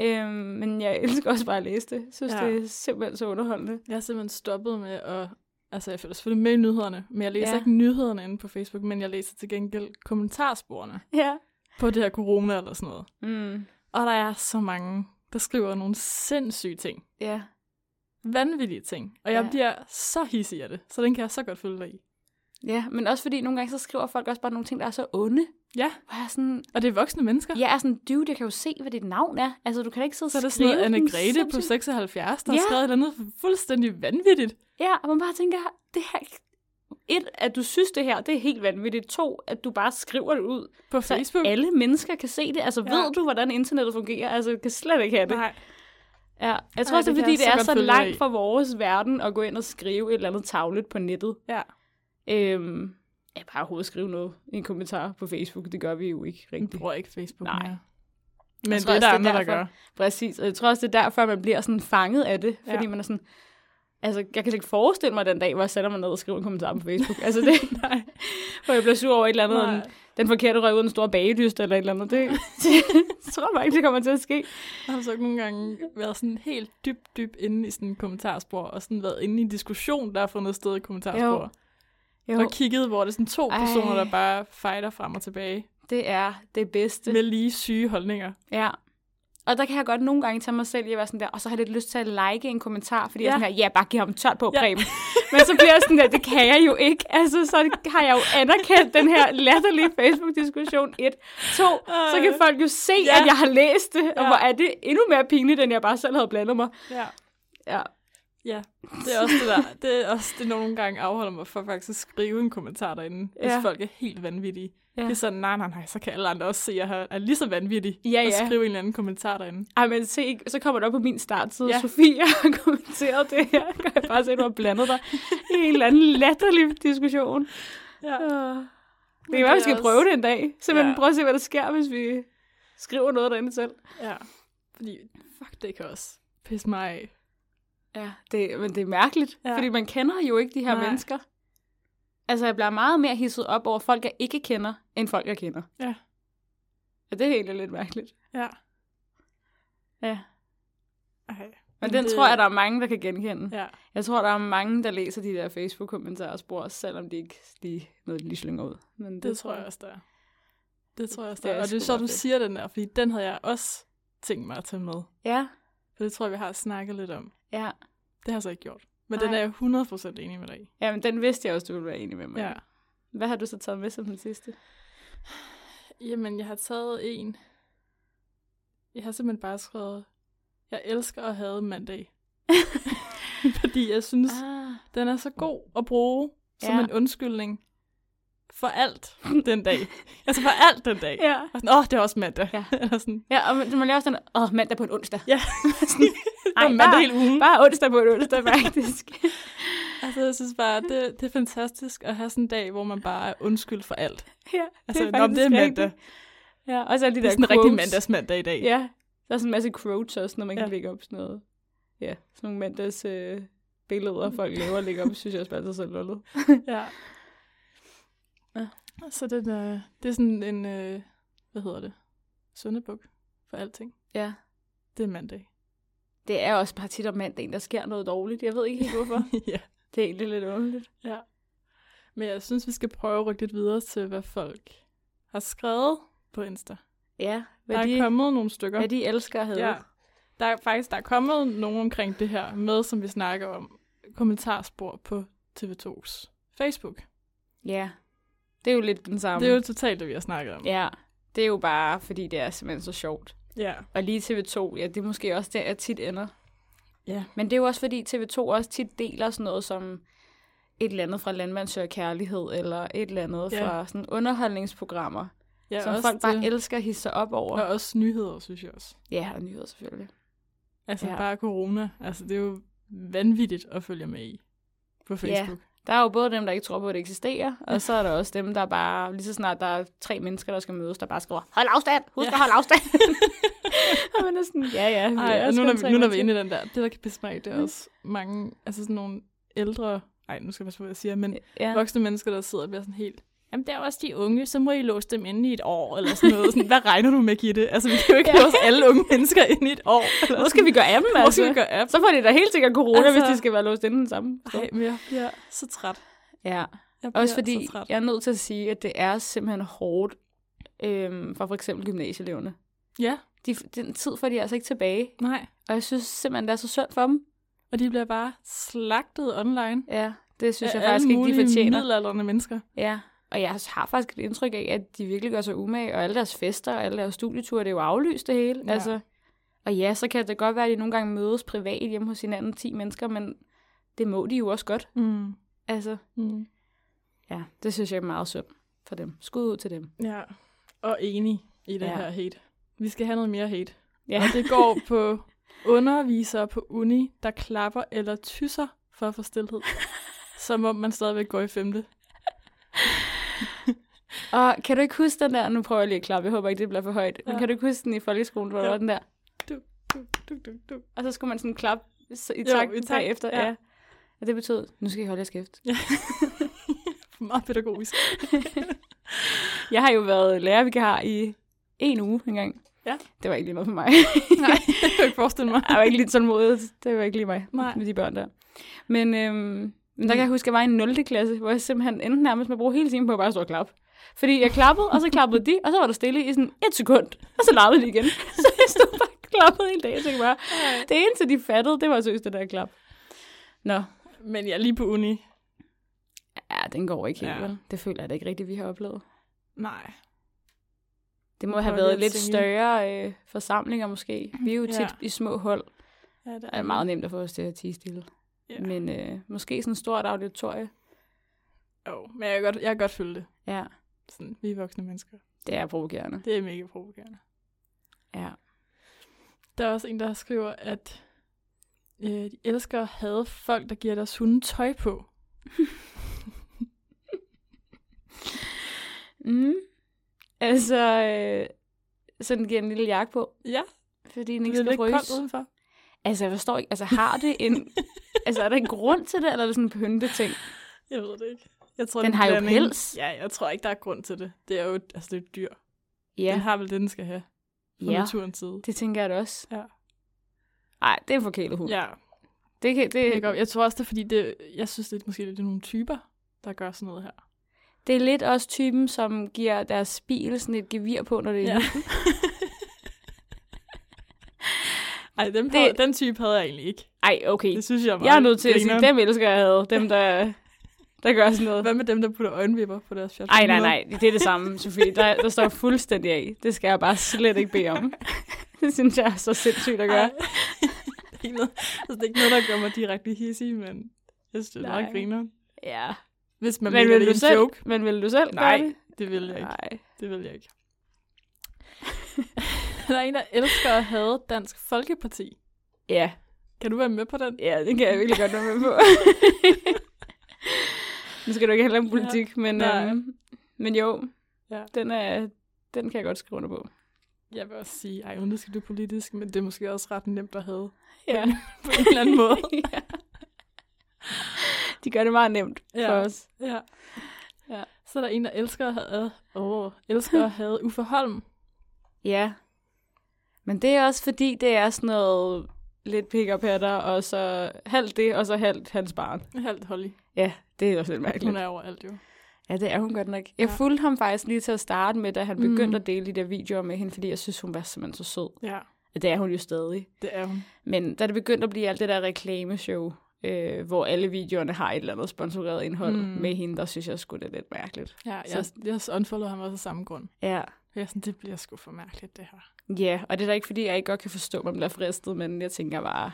Speaker 2: Øhm, men jeg <laughs> elsker også bare at læse det. Jeg synes,
Speaker 1: Ja.
Speaker 2: ja. det er simpelthen så underholdende.
Speaker 1: Jeg har simpelthen stoppet med at... Altså, jeg følger selvfølgelig med i nyhederne, men jeg læser ja.
Speaker 2: Ja.
Speaker 1: ikke nyhederne inde på Facebook, men jeg læser til gengæld kommentarsporene
Speaker 2: Ja.
Speaker 1: på det her corona eller sådan noget.
Speaker 2: Mm.
Speaker 1: Og der er så mange, der skriver nogle sindssyge ting.
Speaker 2: Ja.
Speaker 1: Vanvittige ting. Og jeg ja.
Speaker 2: Ja.
Speaker 1: bliver så hissig af det, så den kan jeg så godt følge dig i.
Speaker 2: ja, men også fordi nogle gange så skriver folk også bare nogle ting, der er så onde.
Speaker 1: Ja,
Speaker 2: Hvor jeg er sådan,
Speaker 1: og det er voksne mennesker.
Speaker 2: jeg er sådan, dude, jeg kan jo se, hvad dit navn er. Altså, du kan da ikke sidde og
Speaker 1: Så er der sådan
Speaker 2: skrive
Speaker 1: noget
Speaker 2: den
Speaker 1: Anne-Grethe på
Speaker 2: sindssyge-
Speaker 1: 76, der ja.
Speaker 2: Ja.
Speaker 1: har skrevet et eller andet fuldstændig vanvittigt.
Speaker 2: Ja, og man bare tænker, det her... Et, at du synes det her, det er helt vanvittigt. To, at du bare skriver det ud,
Speaker 1: På
Speaker 2: så
Speaker 1: Facebook.
Speaker 2: alle mennesker kan se det. Altså,
Speaker 1: Ja.
Speaker 2: ja. ved du, hvordan internettet fungerer? Altså, jeg kan slet ikke have det.
Speaker 1: Nej.
Speaker 2: Ja. Jeg tror
Speaker 1: Ej,
Speaker 2: også,
Speaker 1: det
Speaker 2: det er,
Speaker 1: kan
Speaker 2: fordi
Speaker 1: jeg
Speaker 2: det
Speaker 1: så
Speaker 2: er
Speaker 1: godt
Speaker 2: så
Speaker 1: følge dig
Speaker 2: langt
Speaker 1: i.
Speaker 2: fra vores verden at gå ind og skrive et eller andet tavlet på nettet.
Speaker 1: Ja.
Speaker 2: Øhm, ja, bare overhovedet skrive noget i en kommentar på Facebook. Det gør vi jo ikke
Speaker 1: Jeg
Speaker 2: rigtigt.
Speaker 1: bruger ikke Facebook
Speaker 2: Nej.
Speaker 1: mere. Men
Speaker 2: tror
Speaker 1: det er
Speaker 2: også,
Speaker 1: der
Speaker 2: det er
Speaker 1: andre, der
Speaker 2: derfor.
Speaker 1: gør.
Speaker 2: Præcis, og jeg tror også, det er derfor, man bliver sådan fanget af det,
Speaker 1: Ja.
Speaker 2: fordi man er sådan, altså, jeg kan slet ikke forestille mig den dag, hvor jeg sætter mig ned og skriver en kommentar på Facebook, altså det,
Speaker 1: <laughs>
Speaker 2: <laughs>
Speaker 1: Nej.
Speaker 2: hvor jeg bliver sur over et eller andet,
Speaker 1: Nej.
Speaker 2: om den forkerte røg ud af en stor bagelyst eller et eller
Speaker 1: <laughs>
Speaker 2: andet, det, <laughs> det tror jeg bare ikke, det kommer til at ske.
Speaker 1: Jeg har så ikke nogle gange været sådan helt dybt, dybt inde i sådan en kommentarspor, og sådan været inde i en diskussion, der har fundet sted i kommentarspor.
Speaker 2: Jo,
Speaker 1: Og kigget, hvor det er sådan to Ej.
Speaker 2: Ej.
Speaker 1: personer, der bare fighter frem og tilbage
Speaker 2: det er det bedste.
Speaker 1: med lige syge holdninger.
Speaker 2: Ja. Og der kan jeg godt nogle gange tage mig selv i at være sådan der, og så har jeg lidt lyst til at like en kommentar, fordi ja. jeg
Speaker 1: Ja.
Speaker 2: er sådan her, ja, bare giv ham 12 på,
Speaker 1: Ja.
Speaker 2: ja. Preben. Men så bliver jeg sådan der, det kan jeg jo ikke. Altså, så har jeg jo anerkendt den her latterlige Facebook-diskussion. Et. To, så kan
Speaker 1: Ej.
Speaker 2: folk jo se,
Speaker 1: Øh. Ja.
Speaker 2: ja. at jeg har læst det, og
Speaker 1: Ja.
Speaker 2: hvor er det endnu mere pinligt, end jeg bare selv havde blandet mig.
Speaker 1: Ja.
Speaker 2: Ja.
Speaker 1: Ja, det er også det der. Det er også det, nogle gange afholder mig for faktisk at skrive en kommentar derinde, ja.
Speaker 2: Ja.
Speaker 1: hvis folk er helt vanvittige. Ja.
Speaker 2: Ja.
Speaker 1: Det er sådan, nej, nej, nej, så kan alle andre også se, at jeg er lige så vanvittig
Speaker 2: Ja,
Speaker 1: og
Speaker 2: ja.
Speaker 1: skrive en eller anden kommentar derinde.
Speaker 2: Ej, men se, ikke- så kommer det op på min startside.
Speaker 1: Ja.
Speaker 2: Ja. Sofie har <laughs> kommenteret det her. Kan jeg bare se, at du har blandet dig i en eller anden latterlig diskussion.
Speaker 1: Ja.
Speaker 2: Det kan være,
Speaker 1: det
Speaker 2: vi
Speaker 1: er
Speaker 2: skal
Speaker 1: også-
Speaker 2: prøve det en dag. Simpelthen
Speaker 1: Ja.
Speaker 2: ja. prøve at se, hvad der sker, hvis vi skriver noget derinde selv.
Speaker 1: Ja, fordi fuck, det kan også pisse mig af.
Speaker 2: Ja, det, men det er mærkeligt,
Speaker 1: Ja.
Speaker 2: ja. fordi man kender jo ikke de her
Speaker 1: Nej.
Speaker 2: Nej. mennesker. Altså, jeg bliver meget mere hisset op over folk, jeg ikke kender, end folk, jeg kender.
Speaker 1: Ja.
Speaker 2: Og det er egentlig lidt mærkeligt.
Speaker 1: Ja.
Speaker 2: Ja.
Speaker 1: Ej.
Speaker 2: Men den det... tror jeg, der er mange, der kan genkende.
Speaker 1: Ja.
Speaker 2: Jeg tror, der er mange, der læser de der Facebook-kommentarer og spor, selvom de ikke lige noget, de lige slynger ud. Men det,
Speaker 1: Det tror jeg også, der er. Det tror jeg også,
Speaker 2: Det
Speaker 1: der er.
Speaker 2: er
Speaker 1: Og det er
Speaker 2: sgu
Speaker 1: så,
Speaker 2: meget
Speaker 1: du
Speaker 2: fedt.
Speaker 1: siger den der, fordi den havde jeg også tænkt mig at tage med.
Speaker 2: Ja,
Speaker 1: For det tror jeg, vi har snakket lidt om.
Speaker 2: ja.
Speaker 1: Det har jeg så ikke gjort. Men
Speaker 2: Nej.
Speaker 1: den er jeg 100% enig med dig i.
Speaker 2: Ja, men den vidste jeg også, du ville være enig med mig. i.
Speaker 1: Ja.
Speaker 2: Hvad har du så taget med som den sidste?
Speaker 1: Jamen, jeg har taget en. Jeg har simpelthen bare skrevet, jeg elsker at have <laughs> mandag. fordi jeg synes,
Speaker 2: Ah.
Speaker 1: den er så god at bruge som
Speaker 2: Ja.
Speaker 1: en undskyldning for
Speaker 2: <laughs>
Speaker 1: alt den dag. altså for alt den dag.
Speaker 2: Ja.
Speaker 1: Og sådan, åh, oh, det er også mandag.
Speaker 2: Ja.
Speaker 1: <laughs> Eller sådan,
Speaker 2: Ja, og man- man laver sådan, åh, mandag på en onsdag. <laughs>
Speaker 1: ja.
Speaker 2: Ej,
Speaker 1: Ej, mandag
Speaker 2: bare-
Speaker 1: hele ugen.
Speaker 2: Bare onsdag på en onsdag, <laughs> faktisk.
Speaker 1: Altså, jeg synes bare, det, det er fantastisk at have sådan en dag, hvor man bare er undskyld for alt.
Speaker 2: ja,
Speaker 1: Altså, det er, det er mandag.
Speaker 2: rigtigt. Ja, og så er de
Speaker 1: Det er
Speaker 2: der
Speaker 1: sådan en
Speaker 2: quotes.
Speaker 1: rigtig mandagsmandag i dag.
Speaker 2: Ja, der er sådan en masse quotes også, når man ja.
Speaker 1: Ja.
Speaker 2: kan lægge op sådan noget. Ja, sådan nogle mandags øh, billeder, folk laver og lægger op, synes jeg også bare altid er så lullet.
Speaker 1: ja.
Speaker 2: Ja.
Speaker 1: Så den, øh, det er sådan en, øh, hvad hedder det, sundebuk for alting.
Speaker 2: Ja,
Speaker 1: Det er mandag.
Speaker 2: det er også bare tit om mandagen, der sker noget dårligt. Jeg ved ikke <laughs> helt hvorfor.
Speaker 1: ja.
Speaker 2: det er egentlig lidt underligt.
Speaker 1: Men jeg synes, vi skal prøve at rykke lidt videre til, hvad folk har skrevet på Insta.
Speaker 2: Ja,
Speaker 1: der
Speaker 2: hvad
Speaker 1: er
Speaker 2: de,
Speaker 1: kommet nogle stykker.
Speaker 2: hvad de elsker at have.
Speaker 1: ja. Der er faktisk der er kommet nogen omkring det her med, som vi snakker om, kommentarspor på TV2's Facebook.
Speaker 2: Ja. Det er jo lidt den samme.
Speaker 1: Det er jo totalt det, vi har snakket om.
Speaker 2: Ja, det er jo bare, fordi det er simpelthen så sjovt.
Speaker 1: Ja.
Speaker 2: Og lige TV2, ja, det er måske også der, jeg tit ender.
Speaker 1: Ja.
Speaker 2: Men det er jo også, fordi TV2 også tit deler sådan noget som et eller andet fra Landmand Søger Kærlighed, eller et eller andet
Speaker 1: Ja.
Speaker 2: ja. fra sådan underholdningsprogrammer,
Speaker 1: ja
Speaker 2: som
Speaker 1: også
Speaker 2: folk bare
Speaker 1: det.
Speaker 2: elsker at hisse sig op over.
Speaker 1: Og også nyheder, synes jeg også.
Speaker 2: Ja, og nyheder selvfølgelig.
Speaker 1: Altså ja.
Speaker 2: Ja.
Speaker 1: bare corona. Altså det er jo vanvittigt at følge med i på Facebook.
Speaker 2: Der er jo både dem, der ikke tror på, at det eksisterer, og så er der også dem, der bare, lige så snart der er tre mennesker, der skal mødes, der bare skriver, hold afstand, husk
Speaker 1: Ja.
Speaker 2: at holde
Speaker 1: <laughs>
Speaker 2: afstand. og man er sådan, ja, ja. vi
Speaker 1: Ja.
Speaker 2: er
Speaker 1: Ej, og
Speaker 2: også
Speaker 1: nu, når
Speaker 2: kun
Speaker 1: vi,
Speaker 2: tre
Speaker 1: nu når vi er
Speaker 2: mennesker."
Speaker 1: inde i den der, det der kan pisse mig, af, det
Speaker 2: Mm.
Speaker 1: er også mange, altså sådan nogle ældre, nej nu skal jeg passe på, hvad jeg siger, men
Speaker 2: Ja.
Speaker 1: voksne mennesker, der sidder og bliver sådan helt, jamen der er også de unge, så må I låse dem inde i et år, eller sådan noget. Sådan, hvad regner du med, Gitte? Altså vi kan jo ikke
Speaker 2: Ja.
Speaker 1: låse alle unge mennesker ind i et år. Eller
Speaker 2: Nu skal vi gøre af dem,
Speaker 1: Hvor
Speaker 2: altså.
Speaker 1: skal vi gøre app?
Speaker 2: Så får de da helt sikkert corona, altså...
Speaker 1: Altså-
Speaker 2: hvis de skal være låst inden den samme. sted.
Speaker 1: Nej, men jeg bliver så træt.
Speaker 2: Ja.
Speaker 1: Jeg bliver
Speaker 2: Også fordi,
Speaker 1: så træt.
Speaker 2: jeg er altså nødt til at sige, at det er simpelthen hårdt øhm, for for eksempel gymnasieeleverne.
Speaker 1: Ja,
Speaker 2: De, den tid får de altså ikke tilbage,
Speaker 1: nej.
Speaker 2: og jeg synes simpelthen, det er så synd for dem.
Speaker 1: Og de bliver bare slagtet online.
Speaker 2: Ja, det synes
Speaker 1: af
Speaker 2: jeg faktisk ikke, de
Speaker 1: mulige
Speaker 2: fortjener.
Speaker 1: middelalderne mennesker.
Speaker 2: Ja, og jeg har faktisk et indtryk af, at de virkelig gør sig umage, og alle deres fester og alle deres studieture, det er jo aflyst det hele.
Speaker 1: Ja.
Speaker 2: Ja. Altså, og ja, så kan det godt være, at de nogle gange mødes privat hjemme hos hinanden, 10 mennesker, men det må de jo også godt.
Speaker 1: Mm.
Speaker 2: Altså,
Speaker 1: Mm.
Speaker 2: ja, det synes jeg er meget synd for dem. Skud ud til dem.
Speaker 1: Ja, og enig i det ja.
Speaker 2: Ja.
Speaker 1: her hate. Vi skal have noget mere hate.
Speaker 2: Ja.
Speaker 1: Og det går på undervisere på uni, der klapper eller tysser for at få stillhed. Som om man stadigvæk går i femte.
Speaker 2: Og kan du ikke huske den der, nu prøver jeg lige at klappe, jeg håber ikke, det bliver for højt, ja.
Speaker 1: Ja.
Speaker 2: men kan du ikke huske den i folkeskolen, hvor der
Speaker 1: Jo.
Speaker 2: var den der,
Speaker 1: Du, du, du, du.
Speaker 2: og så skulle man sådan klappe så- i
Speaker 1: Jo,
Speaker 2: takt,
Speaker 1: i
Speaker 2: jo,
Speaker 1: takt,
Speaker 2: efter,
Speaker 1: ja.
Speaker 2: ja. ja. Og det betød, nu skal I holde jeres kæft.
Speaker 1: Meget pædagogisk.
Speaker 2: Jeg har jo været lærervikar i en uge engang.
Speaker 1: Ja.
Speaker 2: Det var ikke lige noget for mig.
Speaker 1: <laughs> Nej, det kan <laughs> jeg ikke forestille mig.
Speaker 2: Jeg var ikke lige tålmodig. Det var ikke lige mig
Speaker 1: Nej.
Speaker 2: med de børn der. Men, øhm, men der kan jeg huske, at jeg var i 0. klasse, hvor jeg simpelthen endte nærmest med at bruge hele timen på at bare stå og klappe. Fordi jeg klappede, og så klappede de, og så var der stille i sådan et sekund, og så larmede de igen. <laughs> Så jeg stod bare og klappede hele dagen, så jeg bare, det eneste de fattede, det var seriøst det der klap. Nå,
Speaker 1: Men jeg ja, er lige på uni.
Speaker 2: ja, den går ikke helt,
Speaker 1: Ja.
Speaker 2: ja. vel? Det føler jeg da ikke rigtigt, vi har oplevet.
Speaker 1: Nej.
Speaker 2: Det må
Speaker 1: Nu
Speaker 2: have
Speaker 1: prøver vi
Speaker 2: været
Speaker 1: at
Speaker 2: lidt
Speaker 1: tænke.
Speaker 2: større øh, forsamlinger måske. Vi er jo tit
Speaker 1: Ja.
Speaker 2: ja. i små hold,
Speaker 1: Ja, det
Speaker 2: Det er meget nemt at få os til at tige stille.
Speaker 1: Ja.
Speaker 2: Ja. Men øh, måske sådan et stort auditorie.
Speaker 1: Jo, men jeg kan godt, jeg kan godt følge det.
Speaker 2: Ja,
Speaker 1: Sådan, vi er voksne mennesker.
Speaker 2: det er provokerende.
Speaker 1: Det er mega provokerende.
Speaker 2: Ja.
Speaker 1: Der er også en, der skriver, at øh, de elsker at have folk, der giver deres hunde tøj på.
Speaker 2: Mm. Altså, øh, sådan giver en lille jakke på,
Speaker 1: Ja,
Speaker 2: fordi den
Speaker 1: det
Speaker 2: ikke
Speaker 1: er
Speaker 2: skal
Speaker 1: lidt koldt
Speaker 2: fryse.
Speaker 1: udenfor.
Speaker 2: Altså, jeg forstår ikke. Altså, har det <laughs> en... altså, er der en grund til det, eller er det sådan en pynteting?
Speaker 1: Jeg ved det ikke. Jeg tror,
Speaker 2: Den
Speaker 1: det er
Speaker 2: har jo
Speaker 1: blanding.
Speaker 2: pels.
Speaker 1: Ja, jeg tror ikke, der er grund til det. Det er jo et, altså, det er et dyr. Ja. Den
Speaker 2: Ja,
Speaker 1: har vel det, den skal have fra ja.
Speaker 2: ja.
Speaker 1: naturens side.
Speaker 2: det tænker jeg da også.
Speaker 1: Ja.
Speaker 2: Nej, det er en forkælet hund. Ja.
Speaker 1: Ja,
Speaker 2: Det, kan,
Speaker 1: det er
Speaker 2: det,
Speaker 1: godt. Jeg tror også, det er fordi, det, jeg synes, det er måske lidt nogle typer, der gør sådan noget her.
Speaker 2: det er lidt også typen, som giver deres bil sådan et gevir på, når det er
Speaker 1: Ja.
Speaker 2: ja.
Speaker 1: <laughs> Ej, dem
Speaker 2: Det-
Speaker 1: havde, den type havde jeg egentlig ikke.
Speaker 2: Ej, okay.
Speaker 1: Det synes jeg er meget
Speaker 2: Jeg er nødt til at sige,
Speaker 1: grineren.
Speaker 2: dem elsker jeg havde. Dem, der, der gør sådan noget.
Speaker 1: Hvad med dem, der putter øjenvipper på deres fjert?
Speaker 2: Ej, nej, nej. Det er det samme, Sofie. Der, der står jeg fuldstændig af. Det skal jeg bare slet ikke bede <laughs> om. Det synes jeg er så sindssygt at gøre.
Speaker 1: Ej. <laughs> det, er ikke noget, altså, det er ikke noget, der gør mig direkte hissig, men jeg synes, det er
Speaker 2: Nej.
Speaker 1: meget griner.
Speaker 2: Ja.
Speaker 1: Hvis man
Speaker 2: Men
Speaker 1: mener, det
Speaker 2: vil,
Speaker 1: er
Speaker 2: du
Speaker 1: en
Speaker 2: selv,
Speaker 1: joke.
Speaker 2: men vil du selv
Speaker 1: Nej,
Speaker 2: gøre det?
Speaker 1: det vil jeg ikke.
Speaker 2: Nej.
Speaker 1: Det vil jeg ikke. <laughs> der er en, der elsker at have Dansk Folkeparti.
Speaker 2: Ja.
Speaker 1: Kan du være med på den?
Speaker 2: ja, det kan jeg virkelig godt være med <laughs> på. nu skal du ikke handle om politik, ja. men,
Speaker 1: Nej.
Speaker 2: øhm, men jo,
Speaker 1: Ja.
Speaker 2: ja. den, er, den kan jeg godt skrive under på.
Speaker 1: Jeg vil også sige, ej, nu skal du politisk, men det er måske også ret nemt at have
Speaker 2: Ja.
Speaker 1: på <laughs> en eller anden måde.
Speaker 2: <laughs> ja. De gør det meget nemt
Speaker 1: Ja.
Speaker 2: ja. for os.
Speaker 1: ja. ja.
Speaker 2: Ja.
Speaker 1: Så er der en, der elsker at have, åh, elsker at have Uffe Holm.
Speaker 2: Ja. Men det er også fordi, det er sådan noget lidt pick og patter, og så halvt det, og så halvt hans barn.
Speaker 1: Halvt Holly.
Speaker 2: Ja, det er også lidt mærkeligt.
Speaker 1: Hun er overalt jo.
Speaker 2: Ja, det er hun godt nok. Jeg
Speaker 1: Ja.
Speaker 2: fulgte ham faktisk lige til at starte med, da han
Speaker 1: Mm.
Speaker 2: begyndte at dele de der videoer med hende, fordi jeg synes, hun var simpelthen så sød.
Speaker 1: Ja.
Speaker 2: Det er hun jo stadig.
Speaker 1: Det er hun.
Speaker 2: Men da det begyndte at blive alt det der reklameshow, øh, hvor alle videoerne har et eller andet sponsoreret indhold
Speaker 1: Mm.
Speaker 2: mm. med hende, der synes jeg sgu, det er lidt mærkeligt.
Speaker 1: Ja, jeg, jeg unfollowede ham også af samme grund.
Speaker 2: Ja.
Speaker 1: Jeg er sådan, det bliver sgu for mærkeligt, det her.
Speaker 2: Ja, og det er da ikke, fordi jeg ikke godt kan forstå, at man bliver fristet, men jeg tænker bare,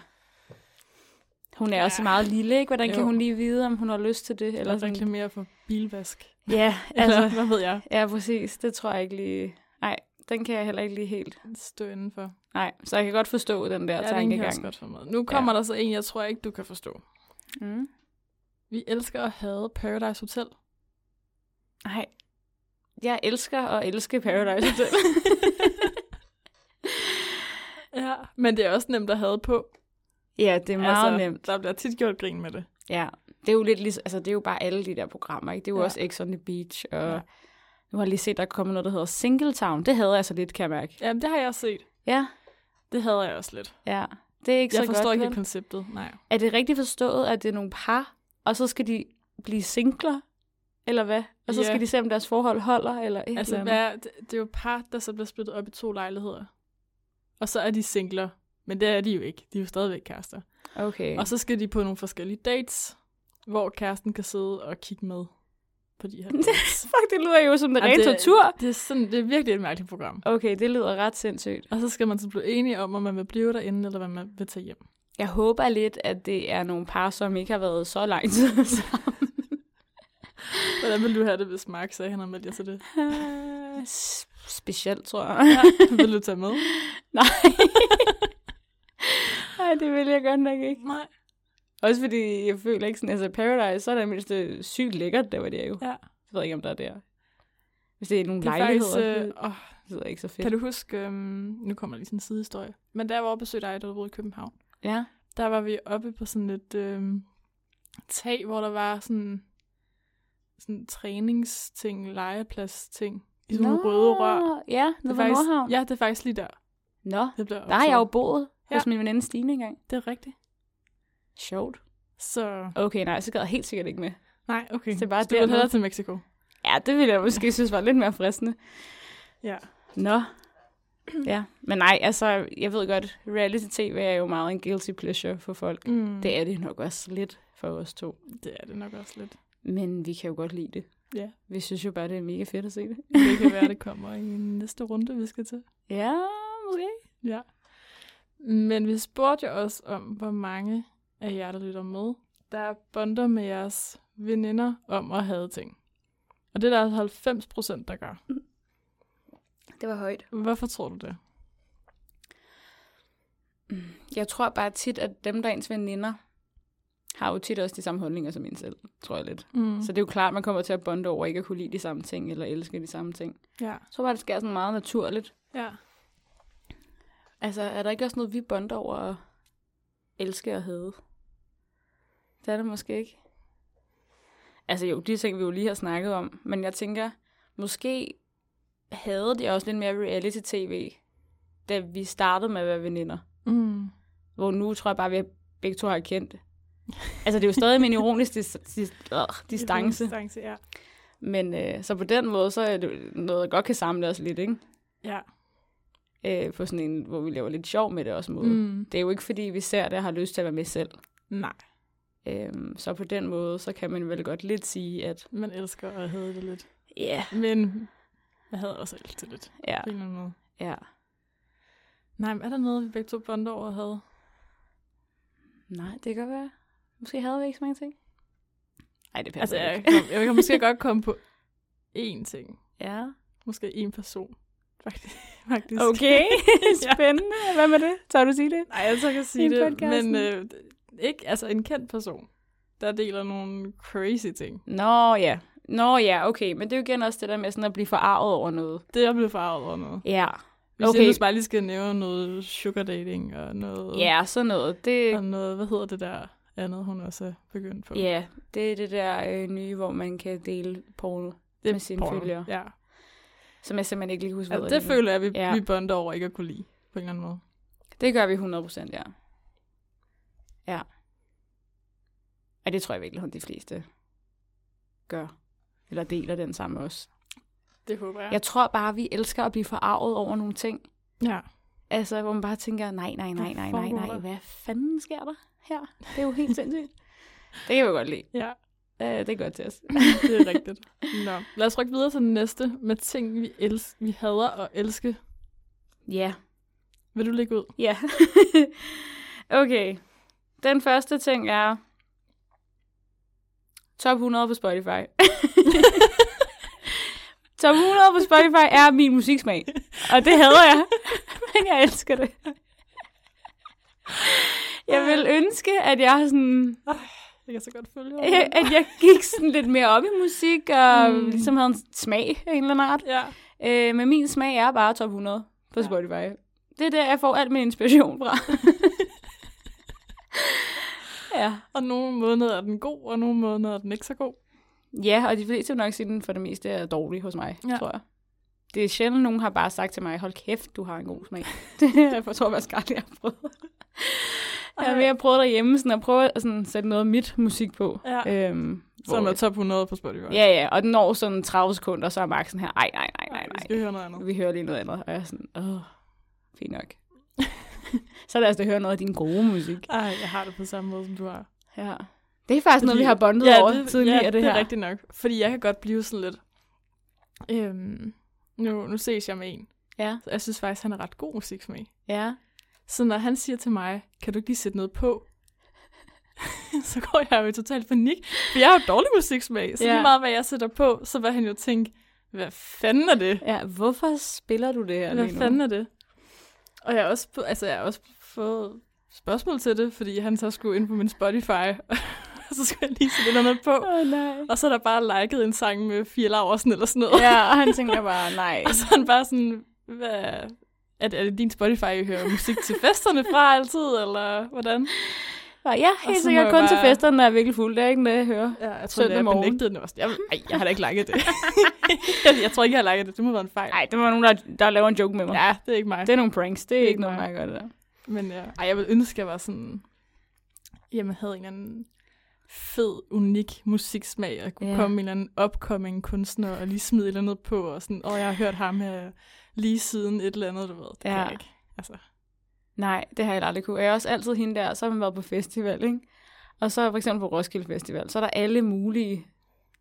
Speaker 2: hun er ja. også
Speaker 1: Ja.
Speaker 2: meget lille, ikke? Hvordan jo. kan
Speaker 1: Jo.
Speaker 2: hun lige vide, om hun har lyst til det?
Speaker 1: Eller
Speaker 2: Eller sådan.
Speaker 1: reklamere for bilvask.
Speaker 2: Ja,
Speaker 1: Eller,
Speaker 2: altså,
Speaker 1: hvad ved jeg?
Speaker 2: ja, præcis. Det tror jeg ikke lige... Nej, den kan jeg heller ikke lige helt.
Speaker 1: Stå indenfor.
Speaker 2: Nej, så jeg kan godt forstå den der
Speaker 1: Ja, det kan jeg også
Speaker 2: tankegang.
Speaker 1: godt for mig. Nu kommer ja. der så en, jeg tror ikke, du kan forstå.
Speaker 2: Mm.
Speaker 1: Vi elsker at have Paradise Hotel.
Speaker 2: Nej. Jeg elsker og elske Paradise Hotel.
Speaker 1: <laughs> Ja, men det er også nemt at have på.
Speaker 2: <laughs> ja, det er meget
Speaker 1: altså,
Speaker 2: altså, nemt.
Speaker 1: Der bliver tit gjort grin med det.
Speaker 2: Ja. Det er jo lidt ligesom, altså det er jo bare alle de der programmer, ikke? Det er jo
Speaker 1: Ja.
Speaker 2: ja. også X on the Beach, og
Speaker 1: Ja.
Speaker 2: ja. nu har jeg lige set, der er kommet noget, der hedder Singletown. Det havde jeg så lidt, kan jeg mærke.
Speaker 1: Jamen, det har jeg også set.
Speaker 2: Ja,
Speaker 1: Det havde jeg også lidt.
Speaker 2: ja. Det er ikke
Speaker 1: Jeg
Speaker 2: så
Speaker 1: forstår
Speaker 2: godt,
Speaker 1: ikke
Speaker 2: vel?
Speaker 1: helt konceptet. Nej.
Speaker 2: Er det rigtigt forstået, at det er nogle par, og så skal de blive singler? Eller hvad? Og så
Speaker 1: Ja.
Speaker 2: yeah. skal de se, om deres forhold holder, eller et
Speaker 1: Altså,
Speaker 2: eller andet.
Speaker 1: hvad, det, det er jo par, der så bliver splittet op i to lejligheder. Og så er de singler. Men det er de jo ikke. De er jo stadigvæk kærester.
Speaker 2: Okay.
Speaker 1: Og så skal de på nogle forskellige dates, hvor kæresten kan sidde og kigge med på de
Speaker 2: <laughs>
Speaker 1: her dates.
Speaker 2: Fuck, det lyder jo som den
Speaker 1: Ej, det-
Speaker 2: rene tortur.
Speaker 1: det, er sådan, det er virkelig et mærkeligt program.
Speaker 2: Okay, det lyder ret sindssygt.
Speaker 1: Og så skal man så blive enige om, om man vil blive derinde, eller hvad man vil tage hjem.
Speaker 2: Jeg håber lidt, at det er nogle par, som ikke har været så lang tid <laughs> sammen.
Speaker 1: Hvordan ville du have det, hvis Mark sagde, at han har meldt jer til
Speaker 2: <laughs>
Speaker 1: det?
Speaker 2: Øh, s- Specielt, tror jeg.
Speaker 1: <laughs> Vil du tage med?
Speaker 2: Nej, det vil jeg godt nok ikke.
Speaker 1: Nej.
Speaker 2: Også fordi jeg føler ikke sådan, altså Paradise, så er det mindst øh, sygt lækkert, der var det jo.
Speaker 1: Ja.
Speaker 2: Jeg ved ikke, om der er der. Hvis det er nogle
Speaker 1: Det er
Speaker 2: lejligheder,
Speaker 1: faktisk...
Speaker 2: faktisk,
Speaker 1: Øh, åh,
Speaker 2: det lyder ikke så fedt.
Speaker 1: kan du huske... Øhm, nu kommer lige sådan en sidehistorie. Men der var oppe besøgte dig, da du boede i København.
Speaker 2: Ja.
Speaker 1: der var vi oppe på sådan et øh, tag, hvor der var sådan sådan træningsting, legepladsting. I sådan nogle røde rør. Det
Speaker 2: Ja, nede
Speaker 1: er
Speaker 2: på
Speaker 1: faktisk,
Speaker 2: Nordhavn.
Speaker 1: ja, det er faktisk lige der.
Speaker 2: Nå,
Speaker 1: Det bliver
Speaker 2: der har jeg jo
Speaker 1: optaget.
Speaker 2: boet
Speaker 1: Ja.
Speaker 2: ja. hos min veninde Stine engang.
Speaker 1: Det er rigtigt.
Speaker 2: Sjovt.
Speaker 1: Så
Speaker 2: Okay, nej, så gad jeg helt sikkert ikke med.
Speaker 1: nej, okay.
Speaker 2: Så det er bare
Speaker 1: du vil
Speaker 2: dernede.
Speaker 1: hellere til Mexico.
Speaker 2: Ja, det ville jeg måske synes var lidt mere fristende.
Speaker 1: Ja.
Speaker 2: Nå. Ja, men nej, altså, jeg ved godt, reality-tv er jo meget en guilty pleasure for folk. Mm. Det er det nok også lidt for os to.
Speaker 1: det er det nok også <laughs> lidt.
Speaker 2: Men vi kan jo godt lide det.
Speaker 1: Ja.
Speaker 2: Vi synes jo bare, det er mega fedt at se det.
Speaker 1: Det kan være, det kommer i næste runde, vi skal til.
Speaker 2: Ja, måske.
Speaker 1: Ja. Men vi spurgte jo også om, hvor mange af jer, der lytter med, der bonder med jeres veninder om at have ting. Og det er der altså 90 procent, der gør.
Speaker 2: Det var højt.
Speaker 1: Hvorfor tror du det?
Speaker 2: Jeg tror bare tit, at dem, der er ens veninder, har jo tit også de samme holdninger som en selv, tror jeg lidt.
Speaker 1: Mm.
Speaker 2: Så det er jo klart, at man kommer til at bonde over ikke at kunne lide de samme ting, eller elske de samme ting.
Speaker 1: Ja.
Speaker 2: Jeg tror bare, det sker sådan meget naturligt.
Speaker 1: ja.
Speaker 2: Altså, er der ikke også noget, vi bonder over at elske og hade? Det er det måske ikke. Altså jo, de ting, vi jo lige har snakket om. Men jeg tænker, måske havde det også lidt mere reality-tv, da vi startede med at være veninder.
Speaker 1: Mm.
Speaker 2: hvor nu tror jeg bare, at vi begge to har kendt det. Altså, det er jo stadig med en ironisk dis- dis- øh, distance,
Speaker 1: Distance, ja.
Speaker 2: men øh, så på den måde, så er det noget, der godt kan samle os lidt, ikke?
Speaker 1: Ja.
Speaker 2: Øh, på sådan en, hvor vi laver lidt sjov med det også måde. Mm.
Speaker 1: Mm.
Speaker 2: Det er jo ikke, fordi vi ser det og har lyst til at være med selv.
Speaker 1: Nej,
Speaker 2: Øh, så på den måde, så kan man vel godt lidt sige, at
Speaker 1: man elsker at have det lidt.
Speaker 2: ja,
Speaker 1: Men jeg havde også elsket det lidt,
Speaker 2: ja,
Speaker 1: på en eller anden måde.
Speaker 2: ja.
Speaker 1: Nej, men er der noget, vi begge to bonder over havde?
Speaker 2: Nej, det kan godt være. Måske havde vi ikke så mange ting. Nej, det
Speaker 1: Altså,
Speaker 2: passer
Speaker 1: jeg,
Speaker 2: ikke.
Speaker 1: kom, jeg kan måske godt komme på én ting.
Speaker 2: ja.
Speaker 1: Måske én person, faktisk. <laughs> faktisk.
Speaker 2: <laughs> Okay, spændende. Hvad med det? Tør du sige det?
Speaker 1: <laughs> Nej, jeg så kan sige
Speaker 2: I
Speaker 1: det,
Speaker 2: podcasten.
Speaker 1: men øh, ikke, altså en kendt person, der deler nogle crazy ting.
Speaker 2: Nå ja. Nå ja, okay. Men det er jo igen også det der med sådan at blive forarvet over noget.
Speaker 1: Det er jeg blevet farvet over noget.
Speaker 2: Ja.
Speaker 1: Hvis okay.
Speaker 2: Okay.
Speaker 1: jeg nu bare lige skal nævne noget sugar dating og noget,
Speaker 2: Ja, sådan noget.
Speaker 1: og
Speaker 2: Det,
Speaker 1: noget, hvad hedder det der andet, hun også er begyndt på?
Speaker 2: ja, det er det der øh, nye, hvor man kan dele porno,
Speaker 1: det er
Speaker 2: med sine
Speaker 1: porno.
Speaker 2: følgere.
Speaker 1: Ja.
Speaker 2: som jeg simpelthen ikke lige husker.
Speaker 1: Altså,
Speaker 2: hvad
Speaker 1: det
Speaker 2: er.
Speaker 1: føler jeg, vi, ja.
Speaker 2: Ja.
Speaker 1: vi bonder over ikke at kunne lide på en eller anden måde.
Speaker 2: det gør vi 100%, ja. Ja. Og det tror jeg virkelig, at de fleste gør. Eller deler den sammen med os.
Speaker 1: Det håber jeg.
Speaker 2: Jeg tror bare, vi elsker at blive forarvet over nogle ting.
Speaker 1: Ja.
Speaker 2: Altså, hvor man bare tænker, nej, nej, nej, nej, nej, nej, hvad fanden sker der her? Det er jo helt sindssygt. Det kan vi godt lide.
Speaker 1: Ja,
Speaker 2: Øh, det er godt til os.
Speaker 1: <laughs> det er rigtigt. Nå. Lad os rykke videre til den næste med ting, vi, els- vi hader og elske.
Speaker 2: Ja.
Speaker 1: Vil du lægge ud?
Speaker 2: Ja. <laughs> okay. Den første ting er top 100 på Spotify. top 100 på Spotify er min musiksmag. Og det hader jeg. <laughs> Men jeg elsker det. Jeg vil ønske, at jeg sådan
Speaker 1: Jeg kan så godt følge
Speaker 2: at
Speaker 1: dig.
Speaker 2: <laughs> at jeg gik sådan lidt mere op i musik, og
Speaker 1: Mm.
Speaker 2: mm. ligesom havde en smag af en eller anden art.
Speaker 1: <laughs> Ja.
Speaker 2: Øh, men min smag er bare top 100 på
Speaker 1: Ja.
Speaker 2: Spotify. Det er der, jeg får alt min inspiration
Speaker 1: <laughs>
Speaker 2: fra. ja.
Speaker 1: Og nogle måneder er den god, og nogle måneder er den ikke så god.
Speaker 2: ja, og de fleste vil nok sige, at den for det meste er dårlig hos mig,
Speaker 1: Ja.
Speaker 2: ja. tror jeg. Det er sjældent, nogen har bare sagt til mig, hold kæft, du har en god
Speaker 1: <laughs>
Speaker 2: smag. det jeg tror jeg faktisk aldrig, jeg har prøvet. Jeg
Speaker 1: Ej.
Speaker 2: har mere prøvet derhjemme, sådan at prøve at sådan, sætte noget af mit musik på.
Speaker 1: Ja.
Speaker 2: Øhm,
Speaker 1: Som
Speaker 2: hvor-
Speaker 1: er top 100 på Spotify.
Speaker 2: Ja, ja, og den når sådan 30 sekunder, så er Max sådan her, ej, nej, nej, nej,
Speaker 1: Vi
Speaker 2: nej.
Speaker 1: skal høre noget andet.
Speaker 2: Vi hører lige noget andet, og jeg er sådan, åh, fint nok. <laughs> så lad os da høre noget af din gode musik.
Speaker 1: Ej, jeg har det på samme måde, som du har.
Speaker 2: Ja. Det er
Speaker 1: Altså,
Speaker 2: faktisk noget, vi har bondet
Speaker 1: ja,
Speaker 2: over
Speaker 1: det,
Speaker 2: tidligere,
Speaker 1: ja,
Speaker 2: det, her.
Speaker 1: er rigtigt nok. Fordi jeg kan godt blive sådan lidt... Øhm, nu, nu ses jeg med en.
Speaker 2: Ja,
Speaker 1: Så Jeg synes faktisk, han er ret god musiksmag.
Speaker 2: ja.
Speaker 1: Så når han siger til mig, kan du ikke lige sætte noget på? <laughs> så går jeg jo i total panik, for jeg har jo dårlig musiksmag. Så
Speaker 2: Ja.
Speaker 1: lige meget, hvad jeg sætter på, så vil han jo tænke, hvad fanden er det?
Speaker 2: Ja, hvorfor spiller du det her
Speaker 1: Hvad
Speaker 2: lige nu?
Speaker 1: fanden er det? Og jeg har også, på- altså, jeg har også fået spørgsmål til det, fordi han så skulle ind på min Spotify, <laughs> og så skulle jeg lige sætte noget andet på.
Speaker 2: Åh, oh, nej.
Speaker 1: Og så er der bare liket en sang med Fie Laversen eller sådan noget.
Speaker 2: Ja, og han tænker bare, nej.
Speaker 1: Og så er han bare sådan, hvad, er, det, er det din Spotify, I hører musik til festerne fra altid, eller hvordan?
Speaker 2: Og ja,
Speaker 1: Og
Speaker 2: helt
Speaker 1: så må
Speaker 2: sikkert
Speaker 1: jeg
Speaker 2: kun bare... til
Speaker 1: bare-
Speaker 2: fester, når jeg er virkelig fuld. Det er ikke det, jeg hører.
Speaker 1: Ja, jeg tror,
Speaker 2: Søndag
Speaker 1: det er
Speaker 2: morgen.
Speaker 1: benægtet nu også. Jeg, ej, jeg har da ikke liket det. <laughs> jeg, jeg tror ikke, jeg har liket det. Det må være en fejl.
Speaker 2: Nej, det var nogen, der, der laver en joke med mig. Ja.
Speaker 1: Ja, det er ikke mig.
Speaker 2: Det er nogle pranks, det er, det er ikke noget,
Speaker 1: mig.
Speaker 2: man gør det der.
Speaker 1: Men ja. Ej, jeg vil ønske, jeg var sådan... Jamen, havde en eller anden fed, unik musiksmag, og kunne
Speaker 2: Ja.
Speaker 1: yeah. komme en eller anden upcoming kunstner og lige smide et eller andet på, og sådan, åh, jeg har hørt ham her lige siden et eller andet, du ved. Det kan
Speaker 2: Ja.
Speaker 1: jeg ikke. Altså,
Speaker 2: Nej, det har jeg aldrig kunne. Jeg er også altid hende der, så har man været på festival, ikke? Og så for eksempel på Roskilde Festival, så er der alle mulige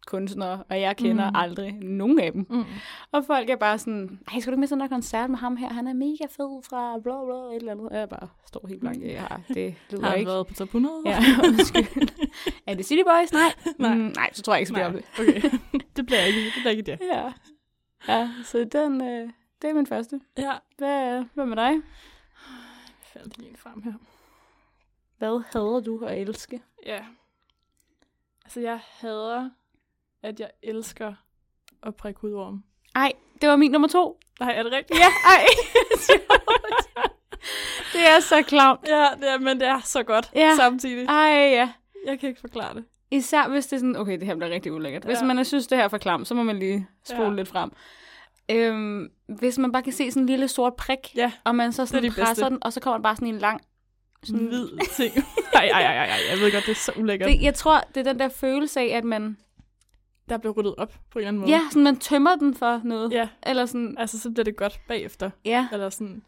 Speaker 2: kunstnere, og jeg kender
Speaker 1: Mm.
Speaker 2: mm. aldrig nogen af dem.
Speaker 1: mm.
Speaker 2: Og folk er bare sådan, ej, skal du ikke med sådan en koncert med ham her? Han er mega fed fra bla bla, et eller andet. Og jeg bare står helt blank. Ja, det lyder
Speaker 1: har han
Speaker 2: ikke.
Speaker 1: været på top 100? <laughs>
Speaker 2: Ja, <laughs> undskyld. er det City Boys? Nej.
Speaker 1: Nej.
Speaker 2: Mm, nej, så tror jeg ikke, så bliver
Speaker 1: Nej,
Speaker 2: det.
Speaker 1: okay. <laughs> det bliver ikke det. Bliver ikke det.
Speaker 2: Ja. ja, så den, øh, det er min første.
Speaker 1: Ja,
Speaker 2: Hvad, hvad med dig?
Speaker 1: jeg faldt lige en frem her.
Speaker 2: Hvad hader du at elske?
Speaker 1: Ja. Altså, jeg hader, at jeg elsker at prikke hudorm.
Speaker 2: Ej, det var min nummer to.
Speaker 1: Nej, er det rigtigt?
Speaker 2: <laughs> Ja, ej. det er så klamt.
Speaker 1: Ja, det er, men det er så godt ja.
Speaker 2: Ja.
Speaker 1: samtidig.
Speaker 2: Ej, ja.
Speaker 1: Jeg kan ikke forklare det.
Speaker 2: Især hvis det er sådan, okay, det her bliver rigtig ulækkert. Hvis
Speaker 1: Ja.
Speaker 2: ja. man synes, det her er for klamt, så må man lige spole
Speaker 1: Ja.
Speaker 2: ja. lidt frem. Øhm, hvis man bare kan se sådan en lille sort prik,
Speaker 1: Ja,
Speaker 2: og man så sådan
Speaker 1: det er de
Speaker 2: presser
Speaker 1: bedste.
Speaker 2: den, og så kommer der bare sådan en lang... Sådan,
Speaker 1: Hvid ting. <laughs> Ej, ej, ej, ej, jeg ved godt, det er så ulækkert.
Speaker 2: Mm. det, jeg tror, det er den der følelse af, at man,
Speaker 1: Der bliver ryddet op på en eller anden måde.
Speaker 2: ja, sådan, man tømmer den for noget.
Speaker 1: Mm. ja.
Speaker 2: Eller sådan,
Speaker 1: Altså, så bliver det godt bagefter.
Speaker 2: ja.
Speaker 1: Eller sådan,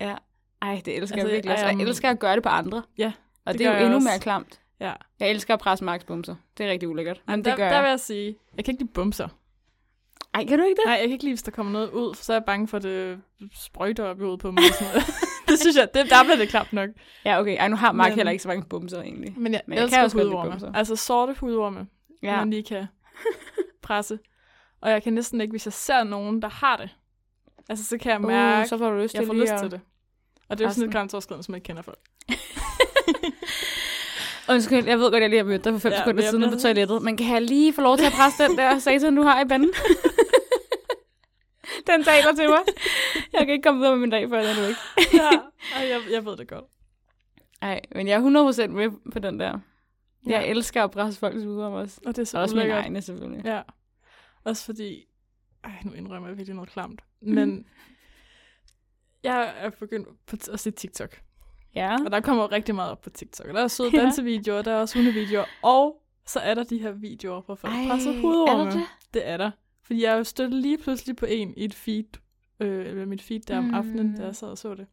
Speaker 2: ja. Ej, det elsker
Speaker 1: Altså,
Speaker 2: altså, jeg virkelig.
Speaker 1: jeg-
Speaker 2: Altså, jeg
Speaker 1: jeg-
Speaker 2: elsker at gøre det på andre.
Speaker 1: Ja,
Speaker 2: Og
Speaker 1: det
Speaker 2: det,
Speaker 1: gør
Speaker 2: er
Speaker 1: jeg
Speaker 2: jo endnu
Speaker 1: også.
Speaker 2: mere klamt.
Speaker 1: ja.
Speaker 2: Jeg elsker at presse Max bumser. Det er rigtig ulækkert. Men det
Speaker 1: der,
Speaker 2: gør
Speaker 1: der
Speaker 2: jeg.
Speaker 1: vil jeg sige, jeg kan ikke lide bumser.
Speaker 2: Ej, kan du ikke det?
Speaker 1: Nej, jeg kan ikke lide, hvis der kommer noget ud, for så er jeg bange for, at det sprøjter op i hovedet på mig. og Sådan
Speaker 2: <laughs>
Speaker 1: noget. <laughs> det synes jeg, det, der bliver det klamt nok.
Speaker 2: Ja, okay. Ej, nu har Mark
Speaker 1: Men-
Speaker 2: Men... heller ikke så mange bumser, egentlig.
Speaker 1: Men jeg,
Speaker 2: Men jeg
Speaker 1: elsker
Speaker 2: kan også godt lide
Speaker 1: hudorme.
Speaker 2: bumser.
Speaker 1: Altså sorte hudorme, ja.
Speaker 2: Ja.
Speaker 1: man lige kan <laughs> presse. Og jeg kan næsten ikke, hvis jeg ser nogen, der har det. Altså, så kan jeg mærke,
Speaker 2: Uh, så får du lyst
Speaker 1: jeg
Speaker 2: til
Speaker 1: får
Speaker 2: lige
Speaker 1: lyst
Speaker 2: at-
Speaker 1: til det. Og det er jo sådan
Speaker 2: Resten.
Speaker 1: et grænseoverskridende, som jeg ikke kender
Speaker 2: <laughs>
Speaker 1: folk.
Speaker 2: Undskyld, jeg ved godt, jeg lige har mødt dig for 5
Speaker 1: Ja,
Speaker 2: ja,
Speaker 1: men
Speaker 2: sekunder
Speaker 1: jeg
Speaker 2: siden
Speaker 1: bliver
Speaker 2: på
Speaker 1: så-
Speaker 2: toilettet, men kan jeg lige få lov til at presse den der satan, du har
Speaker 1: <laughs>
Speaker 2: i panden? den taler til mig. Jeg kan ikke komme videre med min dag, før den er ikke.
Speaker 1: ja, og jeg, jeg ved det godt.
Speaker 2: Nej, men jeg er 100% med på den der. Jeg
Speaker 1: Ja.
Speaker 2: ja. elsker at presse folks ud om os.
Speaker 1: Og det er så
Speaker 2: Også mine
Speaker 1: ulækkert.
Speaker 2: egne, selvfølgelig.
Speaker 1: Ja. Også fordi... Ej, nu indrømmer jeg virkelig noget klamt.
Speaker 2: Mhm.
Speaker 1: Men mm. jeg er begyndt på t- at se TikTok.
Speaker 2: Ja.
Speaker 1: Og der kommer jo rigtig meget op på TikTok. Og Der er søde
Speaker 2: Ja.
Speaker 1: dansevideoer, der er også hundevideorer. Og så er der de her videoer, hvor folk presser hudorme.
Speaker 2: er der det?
Speaker 1: Det er der. Fordi jeg er jo stødt lige pludselig på en i et feed øh, eller mit feed der om mm. aftenen, da jeg sad og så det.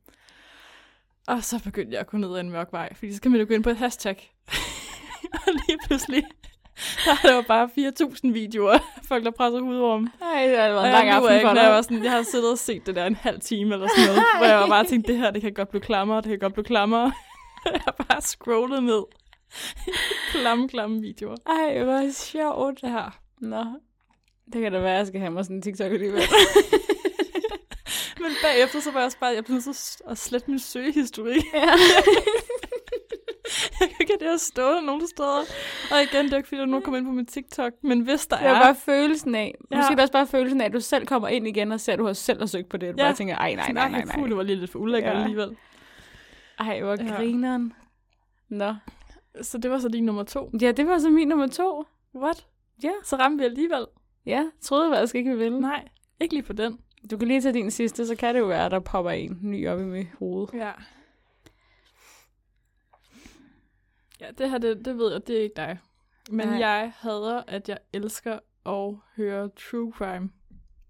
Speaker 1: Og så begyndte jeg at gå ned ad en mørk vej, fordi så kan man jo gå ind på et hashtag. <laughs> og lige pludselig, <laughs> der var bare 4.000 videoer af folk, der presser hudorm.
Speaker 2: Ej, det var
Speaker 1: Og
Speaker 2: en lang
Speaker 1: jeg, lurer
Speaker 2: aften
Speaker 1: ikke,
Speaker 2: for
Speaker 1: når jeg, var
Speaker 2: dig.
Speaker 1: sådan, jeg har siddet og set det der en halv time eller sådan noget, hvor jeg var bare tænkte, det her, det kan godt blive klammere, det kan godt blive klammere. <laughs> jeg har bare scrollet ned. klamme, klamme videoer.
Speaker 2: Ej, hvor sjovt.
Speaker 1: Ja.
Speaker 2: Nå, det kan da være, at jeg skal have mig sådan en TikTok alligevel.
Speaker 1: Men bagefter så var jeg også bare, jeg blev nødt til at slette min søgehistorik.
Speaker 2: ja.
Speaker 1: <laughs> Jeg kan ikke have det at stå nogen steder. Og igen, det er jo ikke, fordi der er nogen, der kommer ind på min TikTok. Men hvis der
Speaker 2: Det er
Speaker 1: er...
Speaker 2: bare følelsen af.
Speaker 1: Ja.
Speaker 2: Ja. Måske er det også bare følelsen af, at du selv kommer ind igen og ser, at du har selv har søgt på det. Og du
Speaker 1: Ja.
Speaker 2: ja. bare tænker, ej, nej,
Speaker 1: Sådan,
Speaker 2: nej,
Speaker 1: "Ej,
Speaker 2: nej,
Speaker 1: Fugle
Speaker 2: nej.
Speaker 1: var lige lidt for ulækker ja.
Speaker 2: Ja.
Speaker 1: alligevel.
Speaker 2: Ej, hvor
Speaker 1: Ja.
Speaker 2: grineren. Nå.
Speaker 1: Så det var så din nummer to.
Speaker 2: Ja, det var så min nummer to.
Speaker 1: What?
Speaker 2: Ja.
Speaker 1: Så ramte vi alligevel.
Speaker 2: Ja, troede faktisk ikke, vi ville.
Speaker 1: Nej, ikke lige på den.
Speaker 2: Du kan lige tage din sidste, så kan det jo være, at der popper en ny op i mit hoved.
Speaker 1: Ja. Ja, det her, det, det ved jeg, det er ikke dig. Men
Speaker 2: Nej.
Speaker 1: jeg hader, at jeg elsker at høre true crime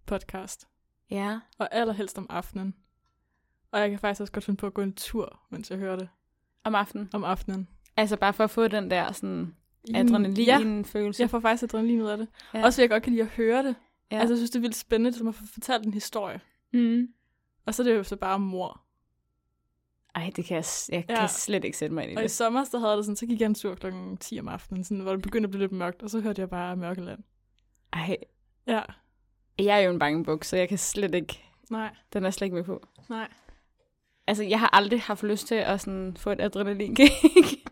Speaker 1: podcast.
Speaker 2: Ja.
Speaker 1: Og allerhelst om aftenen. Og jeg kan faktisk også godt finde på at gå en tur, mens jeg hører det
Speaker 2: Om aftenen.
Speaker 1: om aftenen.
Speaker 2: Altså bare for at få den der sådan
Speaker 1: Mm. Ja,
Speaker 2: adrenalin-følelse.
Speaker 1: jeg får faktisk adrenalin ud af det. Ja.
Speaker 2: Ja.
Speaker 1: Også fordi jeg godt kan lide at høre det. Ja.
Speaker 2: Ja.
Speaker 1: Altså, jeg synes, det er vildt spændende, som at få fortalt en historie.
Speaker 2: Mm.
Speaker 1: Og så er det jo så bare mor.
Speaker 2: Ej, det kan jeg, s- jeg ja.
Speaker 1: Ja.
Speaker 2: kan slet ikke sætte mig ind i
Speaker 1: Og i
Speaker 2: det.
Speaker 1: sommer, så havde jeg det sådan, så gik jeg en tur kl. 10 om aftenen, sådan, hvor det begyndte at blive lidt mørkt, og så hørte jeg bare Mørkeland.
Speaker 2: Ej,
Speaker 1: Ja,
Speaker 2: jeg er jo en bangebuk, så jeg kan slet ikke...
Speaker 1: nej,
Speaker 2: Den er slet ikke med på.
Speaker 1: nej.
Speaker 2: Altså, jeg har aldrig haft lyst til at sådan, få et adrenalinkick.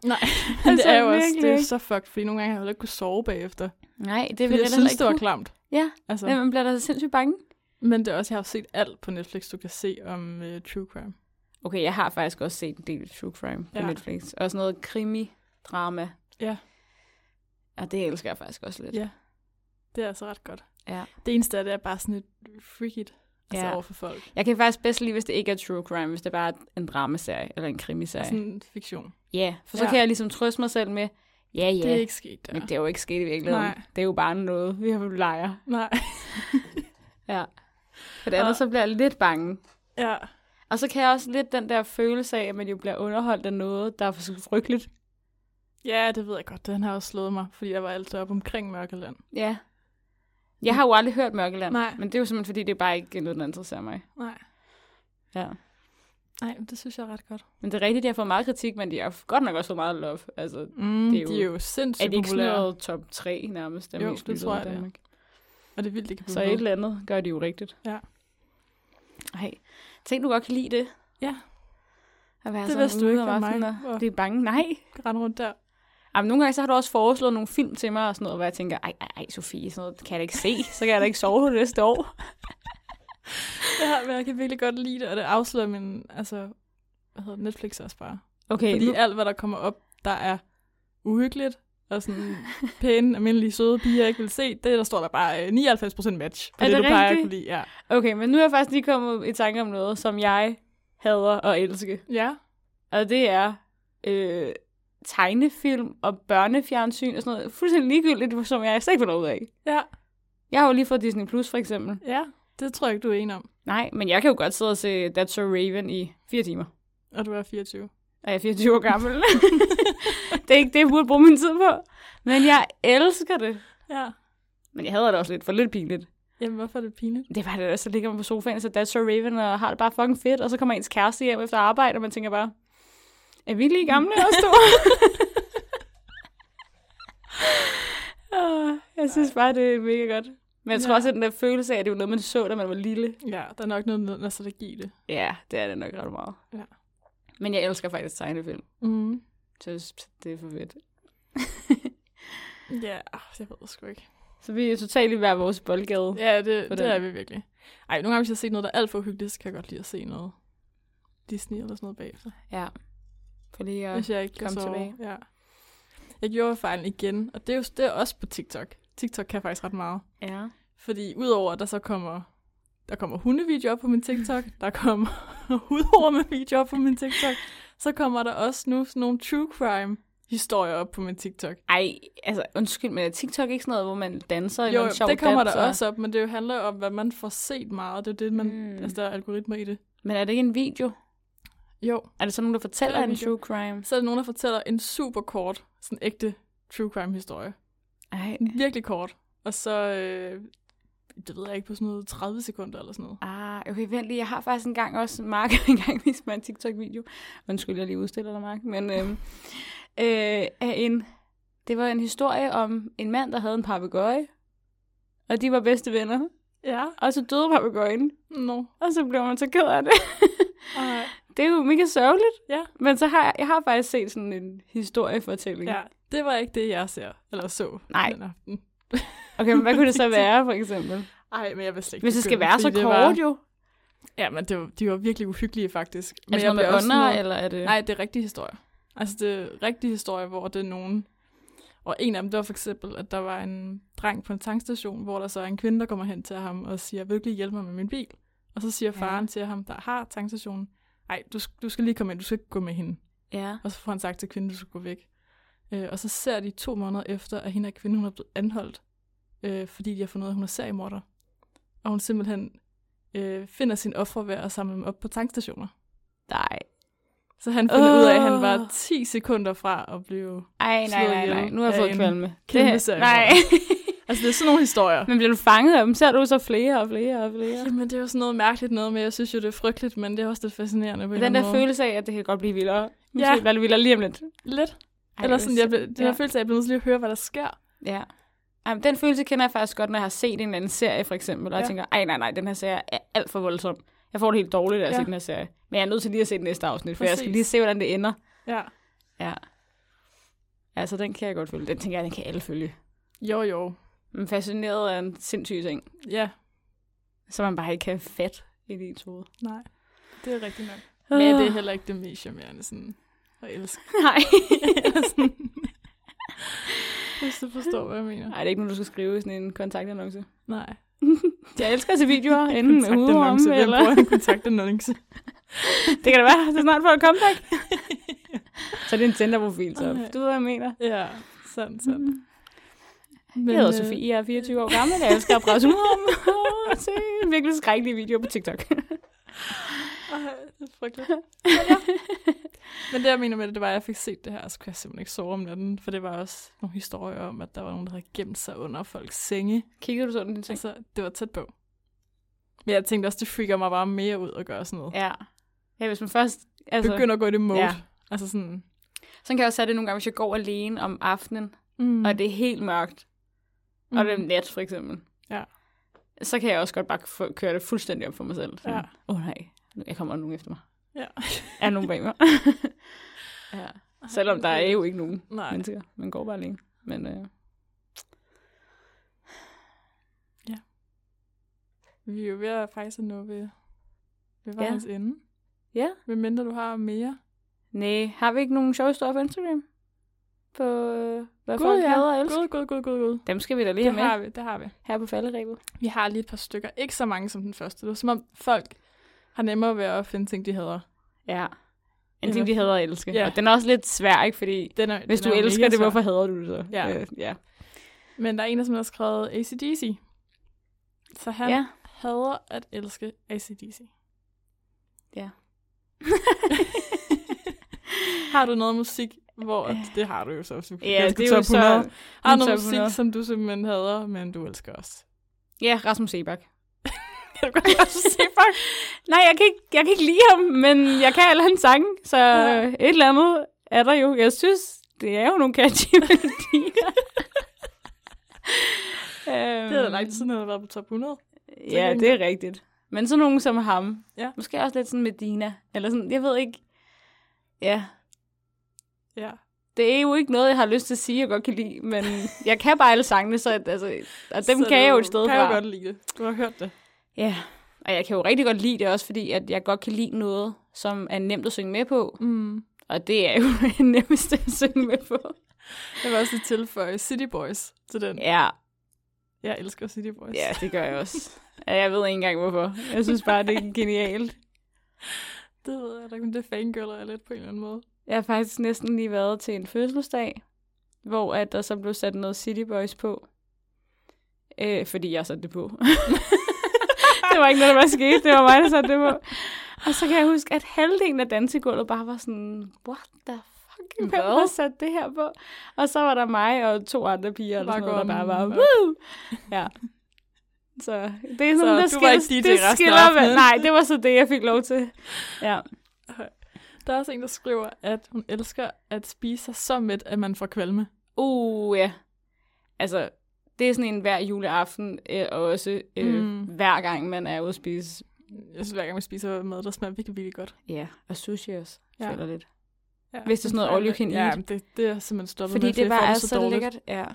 Speaker 1: Nej, men <laughs> det
Speaker 2: Altså,
Speaker 1: er jo også
Speaker 2: virkelig
Speaker 1: det er jo
Speaker 2: ikke.
Speaker 1: så fucked, fordi nogle gange har jeg heller ikke kunne sove bagefter.
Speaker 2: Nej, det
Speaker 1: Fordi
Speaker 2: vil
Speaker 1: jeg
Speaker 2: jeg heller
Speaker 1: synes,
Speaker 2: ikke
Speaker 1: det var
Speaker 2: kunne.
Speaker 1: klamt.
Speaker 2: Ja,
Speaker 1: Altså,
Speaker 2: men man bliver da sindssygt bange.
Speaker 1: men det er også, jeg har set alt på Netflix, du kan se om uh, true crime.
Speaker 2: Okay, jeg har faktisk også set en del true crime på
Speaker 1: Ja.
Speaker 2: ja. Netflix. Og sådan noget krimi-drama.
Speaker 1: Ja.
Speaker 2: Og det elsker jeg faktisk også lidt.
Speaker 1: Ja. Det er altså ret godt.
Speaker 2: Ja.
Speaker 1: Det eneste af det er bare sådan lidt freaky altså
Speaker 2: Ja.
Speaker 1: over for folk.
Speaker 2: Jeg kan faktisk bedst lide, hvis det ikke er true crime, hvis det bare er en dramaserie eller en krimiserie.
Speaker 1: Sådan en fiktion.
Speaker 2: Ja, yeah, for
Speaker 1: Altså,
Speaker 2: så
Speaker 1: Ja.
Speaker 2: ja. kan jeg ligesom trøste mig selv med, ja, ja,
Speaker 1: Yeah. Det er ikke sket der.
Speaker 2: men det er jo ikke sket i virkeligheden.
Speaker 1: Nej.
Speaker 2: Det er jo bare noget, vi har leger.
Speaker 1: Nej. <laughs>
Speaker 2: Ja. For det andet,
Speaker 1: Og-
Speaker 2: så bliver jeg lidt bange.
Speaker 1: ja.
Speaker 2: Og så kan jeg også lidt den der følelse af, at man jo bliver underholdt af noget, der er for frygteligt.
Speaker 1: ja, det ved jeg godt. Den har også slået mig, fordi jeg var altid op omkring Mørkeland.
Speaker 2: Ja. Jeg har jo aldrig hørt Mørkeland,
Speaker 1: Nej.
Speaker 2: men det er jo simpelthen, fordi det er bare ikke noget, der interesserer mig.
Speaker 1: Nej.
Speaker 2: Ja.
Speaker 1: Nej, men det synes jeg er ret godt.
Speaker 2: Men det er rigtigt, at jeg har fået meget kritik, men de har godt nok også fået meget love. Altså,
Speaker 1: Mm,
Speaker 2: Det er jo-
Speaker 1: de er jo
Speaker 2: er
Speaker 1: sindssygt
Speaker 2: det ikke sådan
Speaker 1: populære.
Speaker 2: noget top 3 nærmest? der er
Speaker 1: Jo,
Speaker 2: mest
Speaker 1: det
Speaker 2: lyttede
Speaker 1: tror
Speaker 2: i
Speaker 1: jeg, det er.
Speaker 2: Danmark?
Speaker 1: Og det er vildt, det kan blive
Speaker 2: Så et
Speaker 1: ved.
Speaker 2: eller andet gør de jo rigtigt.
Speaker 1: Ja.
Speaker 2: Ej, tænk, du godt kan lide det.
Speaker 1: Ja.
Speaker 2: At være
Speaker 1: Det
Speaker 2: sådan
Speaker 1: vidste du
Speaker 2: ude
Speaker 1: ikke
Speaker 2: om
Speaker 1: om
Speaker 2: aftenen
Speaker 1: mig,
Speaker 2: og
Speaker 1: hvor-
Speaker 2: blive bange. Nej.
Speaker 1: Rende rundt der.
Speaker 2: Jamen, nogle gange så har du også foreslået nogle film til mig og sådan noget, hvor jeg tænker, ej, ej, ej, Sofie, sådan noget kan jeg da ikke se, så kan jeg da ikke sove det
Speaker 1: <laughs>
Speaker 2: næste år.
Speaker 1: Ja, men jeg kan virkelig godt lide det, og det afslører min, altså, hvad hedder det, Netflix også bare.
Speaker 2: Okay,
Speaker 1: Fordi
Speaker 2: nu,
Speaker 1: alt, hvad der kommer op, der er uhyggeligt, og sådan pæne, almindelige, søde piger, jeg ikke vil se, det der står der bare øh, 99% match på
Speaker 2: Er
Speaker 1: det,
Speaker 2: det
Speaker 1: du plejer at
Speaker 2: rigtigt?
Speaker 1: kunne lide. Ja.
Speaker 2: okay, men nu er jeg faktisk lige kommet i tanke om noget, som jeg hader og elske.
Speaker 1: ja.
Speaker 2: Og det er øh, tegnefilm og børnefjernsyn og sådan noget. Fuldstændig ligegyldigt, som jeg slet ikke får noget ud af.
Speaker 1: Ja,
Speaker 2: Jeg har jo lige fået Disney Plus, for eksempel.
Speaker 1: ja. Det tror jeg ikke, du er en om.
Speaker 2: Nej, men jeg kan jo godt sidde og se That's So Raven i fire timer.
Speaker 1: Og du er 24.
Speaker 2: Og jeg er 24 år gammel. det er ikke det, jeg burde bruge min tid på. Men jeg elsker det.
Speaker 1: Ja.
Speaker 2: Men jeg hader det også lidt, for det er lidt pinligt.
Speaker 1: Jamen, hvorfor er det pinligt?
Speaker 2: Det var det, der så ligger man på sofaen, så That's So Raven og har det bare fucking fedt. Og så kommer ens kæreste hjem efter arbejde, og man tænker bare, er vi lige <laughs> gamle og store? Åh, jeg synes bare, det er mega godt. Men jeg tror
Speaker 1: Ja.
Speaker 2: også, at den der følelse af, at det var noget, man så, da man var lille.
Speaker 1: Ja, der er nok noget med nostalgi i det.
Speaker 2: Ja, det er det nok ret meget.
Speaker 1: Ja.
Speaker 2: Men jeg elsker faktisk tegnefilm.
Speaker 1: Mm.
Speaker 2: Så jeg synes, det er for fedt.
Speaker 1: Ja, ah, jeg ved det sgu ikke.
Speaker 2: Så vi er totalt i hver vores boldgade.
Speaker 1: Ja, det,
Speaker 2: På
Speaker 1: det
Speaker 2: den.
Speaker 1: er vi virkelig. Ej, nogle gange, hvis jeg har set noget, der er alt for uhyggeligt, så kan jeg godt lide at se noget Disney eller sådan noget bagefter.
Speaker 2: Ja. For lige
Speaker 1: Ja,
Speaker 2: at...
Speaker 1: hvis jeg ikke kan
Speaker 2: kom
Speaker 1: sove.
Speaker 2: tilbage.
Speaker 1: Ja. Jeg gjorde fejlen igen, og det er jo det er også på TikTok. TikTok kan faktisk ret meget.
Speaker 2: Ja.
Speaker 1: Fordi udover at der så kommer, der kommer hundevideoer op på min
Speaker 2: <laughs>
Speaker 1: TikTok, der kommer <laughs> hudorme videoer på min TikTok, så kommer der også nu sådan nogle true crime historier op på min TikTok.
Speaker 2: Ej, altså undskyld, men er TikTok ikke sådan noget, hvor man danser eller
Speaker 1: Jo,
Speaker 2: en sjov
Speaker 1: det kommer
Speaker 2: dans,
Speaker 1: der
Speaker 2: og-
Speaker 1: også op, men det jo handler jo om, hvad man får set meget. Det er jo det, man,
Speaker 2: Mm.
Speaker 1: mm. altså, der er algoritmer i det.
Speaker 2: Men er det ikke en video?
Speaker 1: Jo,
Speaker 2: Er det sådan nogen, der fortæller
Speaker 1: Det er
Speaker 2: en
Speaker 1: en video.
Speaker 2: true crime?
Speaker 1: så er der nogen, der fortæller en super kort, sådan ægte true crime historie. <laughs>
Speaker 2: Ej.
Speaker 1: Virkelig kort. Og så, øh, det ved jeg ikke, på sådan noget 30 sekunder eller sådan noget.
Speaker 2: Ah, okay, vent lige. Jeg har faktisk engang også, Mark <laughs> har engang vist mig en TikTok-video. Undskyld, jeg lige udstiller dig, Mark. Men øhm, øh, af en, det var en historie om en mand, der havde en papegøje. Og de var bedste venner.
Speaker 1: Ja.
Speaker 2: Og så døde papegøjen.
Speaker 1: Nå.
Speaker 2: Og så blev man så ked af det. <laughs>
Speaker 1: Ej.
Speaker 2: det er jo mega sørgeligt.
Speaker 1: Ja.
Speaker 2: Men så har jeg, jeg har faktisk set sådan en historiefortælling.
Speaker 1: ja. Det var ikke det, jeg ser eller så
Speaker 2: Nej.
Speaker 1: den aften.
Speaker 2: Okay, men hvad kunne det så
Speaker 1: <laughs> Præcis.
Speaker 2: være, for eksempel?
Speaker 1: Ej, men jeg vil slet ikke
Speaker 2: Hvis det skal
Speaker 1: begynde,
Speaker 2: være så
Speaker 1: fordi det
Speaker 2: kort,
Speaker 1: var-
Speaker 2: jo.
Speaker 1: Ja, men det var, de var virkelig uhyggelige, faktisk.
Speaker 2: Er det
Speaker 1: jeg
Speaker 2: sådan noget
Speaker 1: blev
Speaker 2: med
Speaker 1: også
Speaker 2: ånder,
Speaker 1: sådan noget-
Speaker 2: eller er det...
Speaker 1: Nej, det er rigtige historier. Altså, det er rigtige historier, hvor det er nogen... Og en af dem, det var for eksempel, at der var en dreng på en tankstation, hvor der så er en kvinde, der kommer hen til ham og siger, vil du ikke lige hjælpe mig med min bil? Og så siger
Speaker 2: Ja.
Speaker 1: faren til ham, der har tankstationen, nej, du, sk- du skal lige komme ind, du skal ikke gå med hende.
Speaker 2: Ja.
Speaker 1: Og så får han sagt til kvinden, du skal gå væk. Øh, og så ser de to måneder efter, at hende og kvinden, hun er blevet anholdt, øh, fordi de har fundet ud af, at hun er seriemorder. Og hun simpelthen øh, finder sin ofre ved at samle dem op på tankstationer.
Speaker 2: Nej.
Speaker 1: Så han finder ud af, at han
Speaker 2: Åh.
Speaker 1: var 10 sekunder fra at blive...
Speaker 2: Ej, nej,
Speaker 1: Slået
Speaker 2: nej, nej.
Speaker 1: ihjel
Speaker 2: Nu har jeg
Speaker 1: af
Speaker 2: fået
Speaker 1: en
Speaker 2: kvalme.
Speaker 1: kæmpe
Speaker 2: Det-
Speaker 1: seriemorder.
Speaker 2: Nej.
Speaker 1: Altså, det er sådan nogle historier.
Speaker 2: <laughs> Men bliver du fanget af dem, ser du så flere og flere og flere.
Speaker 1: Jamen, det er jo sådan noget mærkeligt noget med, jeg synes jo, det er frygteligt, men det er også lidt fascinerende på en
Speaker 2: Den
Speaker 1: eller
Speaker 2: der
Speaker 1: anden måde.
Speaker 2: følelse af, at det kan godt blive vildere. Nu
Speaker 1: Ja.
Speaker 2: skal det være lidt vildere lige om lidt.
Speaker 1: Lidt.
Speaker 2: Ej,
Speaker 1: Eller sådan,
Speaker 2: det er
Speaker 1: jeg, blev- den
Speaker 2: ja.
Speaker 1: her følelse af, at jeg bliver nødt til lige at høre, hvad der sker.
Speaker 2: Ja. Ej, men den følelse kender jeg faktisk godt, når jeg har set en eller anden serie, for eksempel, og jeg
Speaker 1: Ja.
Speaker 2: tænker, ej, nej, nej, den her serie er alt for voldsom. Jeg får det helt dårligt af at
Speaker 1: Ja.
Speaker 2: se den her serie. Men jeg er nødt til lige at se den næste afsnit, for jeg skal
Speaker 1: Præcis.
Speaker 2: lige se, hvordan det ender.
Speaker 1: Ja.
Speaker 2: Ja. Altså, den kan jeg godt følge. Den tænker jeg, den kan alle følge.
Speaker 1: Jo, jo.
Speaker 2: Man er fascineret af en sindssyg ting,
Speaker 1: Ja.
Speaker 2: som man bare ikke kan fat i det ens hoved.
Speaker 1: Nej. Det er rigtigt nok. Men det er
Speaker 2: Ah.
Speaker 1: heller ikke det mest charmerende sådan at <laughs> elske.
Speaker 2: Nej.
Speaker 1: Hvis du forstår, hvad jeg mener.
Speaker 2: Nej, det er ikke nu, du skal skrive i sådan
Speaker 1: <laughs>
Speaker 2: en kontaktannonce.
Speaker 1: Nej.
Speaker 2: Jeg elsker at se videoer, enten med hovedet om,
Speaker 1: Kontaktannonce. Hvem
Speaker 2: eller...
Speaker 1: bruger en kontaktannonce?
Speaker 2: det kan det være, så snart får et
Speaker 1: <laughs>
Speaker 2: comeback. så er det en Tinder-profil, så
Speaker 1: Ej.
Speaker 2: du ved, hvad jeg mener.
Speaker 1: <laughs> Ja, sådan, sådan. Mm. Men,
Speaker 2: Jeg hedder
Speaker 1: øh,
Speaker 2: Sofie, jeg er 24 år gammel, jeg elsker at
Speaker 1: <laughs>
Speaker 2: presse ud om og se virkelig skrækkelige videoer på TikTok.
Speaker 1: Ej, det er frygteligt. Men, ja. <laughs> Men det, jeg mener med det, det var, at jeg fik set det her, og så kunne jeg simpelthen ikke sove om natten, for det var også nogle historier om, at der var nogen, der havde gemt sig under folks senge.
Speaker 2: Kiggede du sådan en ting?
Speaker 1: Altså, det var tæt på. Men jeg tænkte også, det freaker mig bare mere ud at gøre sådan noget.
Speaker 2: Ja. Ja, hvis man først... Altså,
Speaker 1: Altså, Begynder at gå i det mode.
Speaker 2: Ja.
Speaker 1: Ja. Altså sådan...
Speaker 2: Sådan kan jeg også have det nogle gange, hvis jeg går alene om aftenen,
Speaker 1: Mm,
Speaker 2: og det er helt mørkt, mm. og det er nat for eksempel,
Speaker 1: Ja.
Speaker 2: så kan jeg også godt bare få, køre det fuldstændig op for mig selv. Åh ja.
Speaker 1: Ja.
Speaker 2: oh, nej, nu- jeg kommer nogen <laughs> efter mig.
Speaker 1: Ja.
Speaker 2: Er nogen bag mig? <laughs> ja. <laughs> Selvom der er jo ikke nogen
Speaker 1: Nej,
Speaker 2: mennesker, man går bare alene. Men, øh,
Speaker 1: vi er jo ved at faktisk at nå ved, ved
Speaker 2: Ja.
Speaker 1: vejens ende.
Speaker 2: ja.
Speaker 1: Hvad mindre du har mere?
Speaker 2: Nej, har vi ikke nogen sjove historier på Instagram? På øh, hvad
Speaker 1: Gud,
Speaker 2: folk
Speaker 1: ja.
Speaker 2: hader og elsker?
Speaker 1: God, god, god, god, god.
Speaker 2: Dem skal vi da lige
Speaker 1: Det
Speaker 2: have med
Speaker 1: har vi, det har vi.
Speaker 2: her på falderæbet.
Speaker 1: Vi har lige et par stykker. Ikke så mange som den første. Det er som om folk har nemmere ved at finde ting, de hader.
Speaker 2: Ja. En
Speaker 1: Eller-
Speaker 2: ting, de hader og elsker.
Speaker 1: Ja.
Speaker 2: Og den er også lidt svær, ikke? Fordi
Speaker 1: Den er,
Speaker 2: hvis
Speaker 1: den
Speaker 2: du
Speaker 1: er jo
Speaker 2: elsker
Speaker 1: mega
Speaker 2: det,
Speaker 1: svær.
Speaker 2: hvorfor hader du det så?
Speaker 1: Ja.
Speaker 2: Øh, ja.
Speaker 1: Men der er en, der som har skrevet ACDC. Så han
Speaker 2: <laughs> ja.
Speaker 1: ja. hader at elske ACDC.
Speaker 2: Ja.
Speaker 1: har du noget musik, hvor... at- Det har du jo så. hvis du
Speaker 2: Ja,
Speaker 1: elsker
Speaker 2: det er jo
Speaker 1: top
Speaker 2: så...
Speaker 1: 100. Har du
Speaker 2: min
Speaker 1: noget
Speaker 2: top
Speaker 1: musik,
Speaker 2: 100.
Speaker 1: som du simpelthen hader, men du elsker også?
Speaker 2: Ja, Rasmus Sebak.
Speaker 1: <laughs> Kan du godt lide Rasmus Seebach?
Speaker 2: Nej, jeg kan, ikke, jeg kan ikke lide ham, men jeg kan alle hans sange, så ja.
Speaker 1: Ja.
Speaker 2: et eller andet er der jo. Jeg synes, det er jo nogle catchy <laughs> melodier. øhm,
Speaker 1: Det havde lang tid siden, han har været på top 100.
Speaker 2: Ja,
Speaker 1: jeg.
Speaker 2: det er rigtigt. Men sådan nogen som ham.
Speaker 1: Ja.
Speaker 2: Måske også lidt sådan Medina. Eller sådan, jeg ved ikke. Ja,
Speaker 1: Ja.
Speaker 2: det er jo ikke noget, jeg har lyst til at sige, jeg godt kan lide, men jeg kan bare alle sangene, så at- altså, og dem
Speaker 1: Så
Speaker 2: så kan jeg
Speaker 1: du
Speaker 2: jo et sted
Speaker 1: kan
Speaker 2: fra.
Speaker 1: jo godt lide det. Du har hørt det.
Speaker 2: Ja, og jeg kan jo rigtig godt lide det også, fordi at jeg godt kan lide noget, som er nemt at synge med på.
Speaker 1: Mm.
Speaker 2: Og det er jo <laughs> det nemmeste at synge med på.
Speaker 1: Jeg vil også lige tilføje City Boys til den.
Speaker 2: Ja,
Speaker 1: Jeg elsker City Boys.
Speaker 2: ja det gør jeg
Speaker 1: <laughs>
Speaker 2: også. Og Jeg ved ikke engang, hvorfor. Jeg synes bare, det er genialt.
Speaker 1: Det ved jeg da, men det fangirler jeg lidt på en eller anden måde.
Speaker 2: Jeg har faktisk næsten lige været til en fødselsdag, hvor at der så blev sat noget City Boys på. Øh, fordi jeg satte det på. <laughs>
Speaker 1: <laughs>
Speaker 2: det var ikke noget, der var sket. Det var mig, der satte det på. Og så kan jeg huske, at halvdelen af dansegulvet bare var sådan, what the fuck, hvem
Speaker 1: Hvad?
Speaker 2: har sat det her på? Og så var der mig og to andre piger, eller
Speaker 1: Bare
Speaker 2: sådan noget, der
Speaker 1: gå
Speaker 2: bare
Speaker 1: om,
Speaker 2: var,
Speaker 1: og-
Speaker 2: woo! Ja. Så det er sådan,
Speaker 1: Så
Speaker 2: der
Speaker 1: du var ikke DJ
Speaker 2: det
Speaker 1: resten af
Speaker 2: skiller, hvad-
Speaker 1: aftenen?
Speaker 2: Nej, det var så det, jeg fik lov til. Ja.
Speaker 1: Der er også en, der skriver, at hun elsker at spise sig så mæt, at man får kvalme.
Speaker 2: Uh, ja. Altså, det er sådan en hver juleaften, øh, og også øh,
Speaker 1: Mm.
Speaker 2: mm. hver gang, man er ude at spise.
Speaker 1: Jeg synes, hver gang man spiser mad, der smager virkelig, virkelig godt.
Speaker 2: Ja, og sushi også,
Speaker 1: Ja.
Speaker 2: ja. føler lidt.
Speaker 1: Ja.
Speaker 2: Hvis det er sådan noget all you can
Speaker 1: Ja,
Speaker 2: eat.
Speaker 1: men det, det er simpelthen stoppet
Speaker 2: Fordi
Speaker 1: med,
Speaker 2: det
Speaker 1: jeg får
Speaker 2: bare er
Speaker 1: det altså
Speaker 2: så, så
Speaker 1: dårligt.
Speaker 2: lækkert. Ja.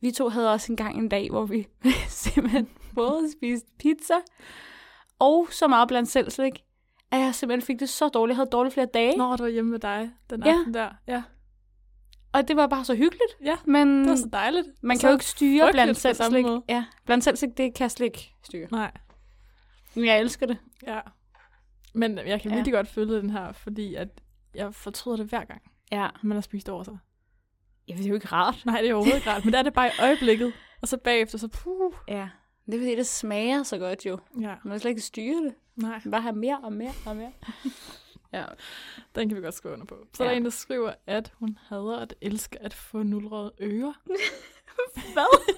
Speaker 2: Vi to havde også engang en dag, hvor vi <laughs> simpelthen både spiste pizza og så meget blandt selv slik, at jeg simpelthen fik det så dårligt. Jeg havde dårligt flere dage, Nå.
Speaker 1: Når du var hjemme med dig den
Speaker 2: Ja.
Speaker 1: aften der. Ja.
Speaker 2: og det var bare så hyggeligt.
Speaker 1: Ja,
Speaker 2: Men
Speaker 1: Det var så dejligt.
Speaker 2: man
Speaker 1: så
Speaker 2: kan jo ikke styre
Speaker 1: frygteligt
Speaker 2: blandt
Speaker 1: på
Speaker 2: selv
Speaker 1: samme
Speaker 2: slik.
Speaker 1: måde.
Speaker 2: Ja, blandt selv slik, det kan slet ikke styre.
Speaker 1: Nej,
Speaker 2: Men jeg elsker det.
Speaker 1: ja. Men jeg kan
Speaker 2: Ja.
Speaker 1: virkelig godt føle den her, fordi at jeg fortryder det hver gang,
Speaker 2: Ja.
Speaker 1: man har spist over sig.
Speaker 2: Ja, det er jo ikke rart.
Speaker 1: Nej, det er overhovedet ikke rart, men der er det bare i øjeblikket. Og så bagefter, så puh.
Speaker 2: Ja. Det er fordi, det smager så godt jo.
Speaker 1: Ja,
Speaker 2: Man kan slet ikke styre det.
Speaker 1: nej,
Speaker 2: Man bare have mere og mere og mere. ja.
Speaker 1: den kan vi godt skrive under på. Så ja.
Speaker 2: Ja.
Speaker 1: der er en, der skriver, at hun hader at elske at få nulrede ører.
Speaker 2: <laughs> Hvad?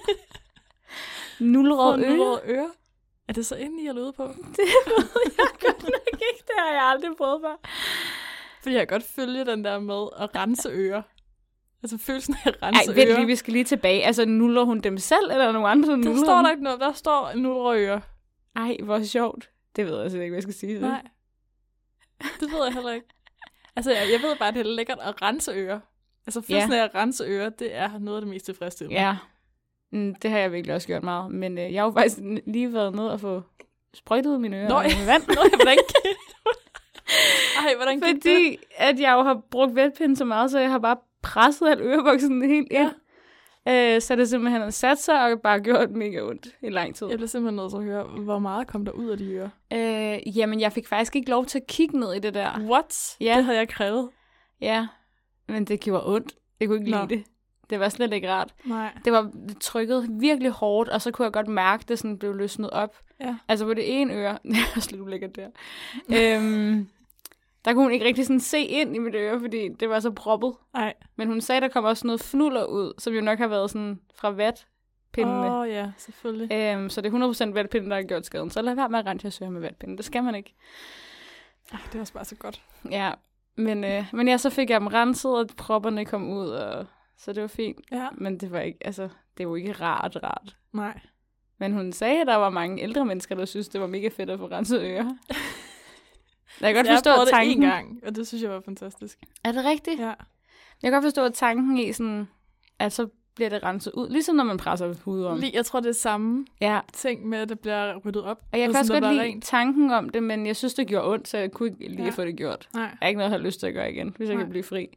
Speaker 1: Få
Speaker 2: Nullerød øl?
Speaker 1: nulrede ører? Er det så inde i at lyde på?
Speaker 2: Det ved <laughs> jeg godt nok ikke. Det har jeg aldrig prøvet før.
Speaker 1: Fordi jeg kan godt følge den der med at rense ører. Altså følelsen af at rense
Speaker 2: Nej, vent
Speaker 1: ører.
Speaker 2: lige, vi skal lige tilbage. Altså, nuller hun dem selv, eller nogen andre, der nuller
Speaker 1: Der står
Speaker 2: dem?
Speaker 1: der ikke noget. Der står nulrede ører.
Speaker 2: Ej, hvor sjovt. Det ved jeg slet ikke, hvad jeg skal sige. til det.
Speaker 1: Nej. Det ved jeg heller ikke. Altså, jeg, jeg ved bare, at det er lækkert at rense ører. Altså, følelsen af at rense ører, det er noget af det mest tilfredsstillende.
Speaker 2: Ja. Mm, det har jeg virkelig også gjort meget. Men øh, jeg har jo faktisk lige været nede og få sprøjtet mine ører
Speaker 1: Nå, <laughs>
Speaker 2: med vand.
Speaker 1: Nå, jeg, hvordan gik
Speaker 2: <laughs>
Speaker 1: Ej, hvordan gik det?
Speaker 2: Fordi at jeg jo har brugt vetpinde så meget, så jeg har bare presset al ørevoksen helt ind. Ja. Øh, så det simpelthen har sat sig og bare gjort mega ondt i lang tid.
Speaker 1: Jeg bliver simpelthen nødt til at høre, hvor meget kom der ud af de ører?
Speaker 2: Øh, jamen, jeg fik faktisk ikke lov til at kigge ned i det
Speaker 1: Ah,
Speaker 2: der.
Speaker 1: What?
Speaker 2: Ja.
Speaker 1: Det havde jeg krævet.
Speaker 2: Ja, men det gjorde ondt. Jeg kunne ikke
Speaker 1: Nå.
Speaker 2: lide det. Det var slet ikke rart.
Speaker 1: Nej.
Speaker 2: Det var trykket virkelig hårdt, og så kunne jeg godt mærke, at det sådan blev løsnet op.
Speaker 1: Ja.
Speaker 2: Altså på det ene øre, <laughs> det er også lidt ulækkert der,
Speaker 1: <laughs>
Speaker 2: øhm, der kunne hun ikke rigtig sådan se ind i mit øre, fordi det var så proppet.
Speaker 1: Nej.
Speaker 2: Men hun sagde, at der kom også noget fnuller ud, som jo nok har været sådan fra vatpindene.
Speaker 1: Åh,
Speaker 2: Oh.
Speaker 1: oh, ja, selvfølgelig.
Speaker 2: Øhm, så det er 100% vatpinden, der har gjort skaden. Så lad være med at rense jeres ører med vatpinden. Det skal man ikke.
Speaker 1: Ej, Ah, det er også bare så godt.
Speaker 2: Ja, men, øh, men ja, så fik jeg dem renset, og propperne kom ud, og så det var fint.
Speaker 1: Ja.
Speaker 2: Men det var ikke, altså, det var ikke rart, rart.
Speaker 1: Nej.
Speaker 2: Men hun sagde, at der var mange ældre mennesker, der synes, det var mega fedt at få renset
Speaker 1: <laughs>
Speaker 2: ører. Jeg kan godt
Speaker 1: jeg
Speaker 2: forstå
Speaker 1: prøvede
Speaker 2: tanken.
Speaker 1: det én gang, og det synes jeg var fantastisk.
Speaker 2: Er det rigtigt? Ja.
Speaker 1: Ja.
Speaker 2: Jeg kan godt forstå tanken i sådan, at så bliver det renset ud, ligesom når man presser hud om.
Speaker 1: Lige, jeg tror, det er samme
Speaker 2: Ja,
Speaker 1: ting med, at det bliver ryddet op.
Speaker 2: og jeg kan
Speaker 1: sådan,
Speaker 2: også
Speaker 1: der
Speaker 2: godt
Speaker 1: bliver
Speaker 2: lide
Speaker 1: rent.
Speaker 2: tanken om det, men jeg synes, det gjorde ondt, så jeg kunne ikke lige
Speaker 1: Ja.
Speaker 2: ja. få det gjort.
Speaker 1: Nej.
Speaker 2: Jeg er ikke noget, jeg har lyst til at gøre igen, hvis jeg
Speaker 1: Nej.
Speaker 2: kan blive fri.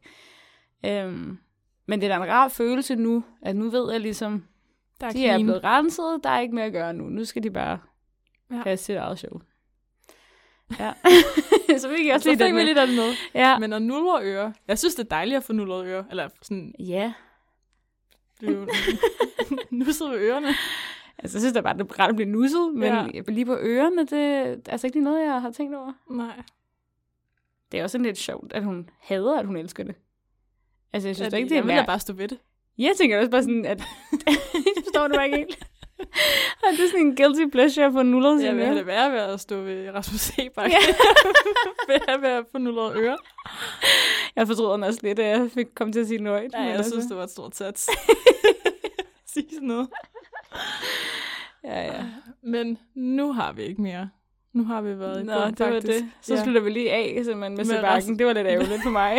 Speaker 2: Øhm, men det er da en rar følelse nu, at nu ved jeg ligesom,
Speaker 1: Der er
Speaker 2: de er
Speaker 1: clean.
Speaker 2: blevet renset, der er ikke mere at gøre nu. Nu skal de bare
Speaker 1: Ja.
Speaker 2: ja. have sit eget show. Ja. <laughs> så fik jeg også
Speaker 1: Så
Speaker 2: lige
Speaker 1: fik
Speaker 2: den
Speaker 1: vi
Speaker 2: med.
Speaker 1: lige den med.
Speaker 2: Ja.
Speaker 1: Men at nulre ører. Jeg synes, det er dejligt at få nulret ører. Eller sådan,
Speaker 2: ja.
Speaker 1: det <laughs> er jo nusset ved ørerne.
Speaker 2: Altså, jeg synes da bare, det er rart at blive nusset, men
Speaker 1: Ja.
Speaker 2: ja. lige på ørerne, det er altså ikke lige noget, jeg har tænkt over.
Speaker 1: Nej.
Speaker 2: Det er også sådan lidt sjovt, at hun hader, at hun elsker det. Altså, jeg synes
Speaker 1: At-
Speaker 2: da ikke, det er
Speaker 1: jeg vil da
Speaker 2: mær-
Speaker 1: bare stå ved <laughs> det.
Speaker 2: Jeg tænker også bare sådan, at... <laughs> jeg forstår det bare ikke helt. <laughs> Og det er sådan en guilty pleasure at få nullet
Speaker 1: Jeg
Speaker 2: sin
Speaker 1: vil have
Speaker 2: ører.
Speaker 1: det værre ved at stå ved Rasmus Sebak.
Speaker 2: Ja.
Speaker 1: <laughs> Ja. vil have ved at få nulret ører.
Speaker 2: Jeg fortryder den også lidt, at jeg fik kom til at sige nøjt.
Speaker 1: Ja,
Speaker 2: men
Speaker 1: jeg
Speaker 2: altså-
Speaker 1: synes, det var et stort <laughs> sats. Sige sådan noget.
Speaker 2: Ja, ja.
Speaker 1: Men nu har vi ikke mere. Nu har vi været i
Speaker 2: Nå,
Speaker 1: bund,
Speaker 2: det var
Speaker 1: faktisk.
Speaker 2: det. Så ja. slutter vi lige af simpelthen med
Speaker 1: Med resten.
Speaker 2: Sebakken. Det var lidt ærgerligt for
Speaker 1: <laughs>
Speaker 2: mig.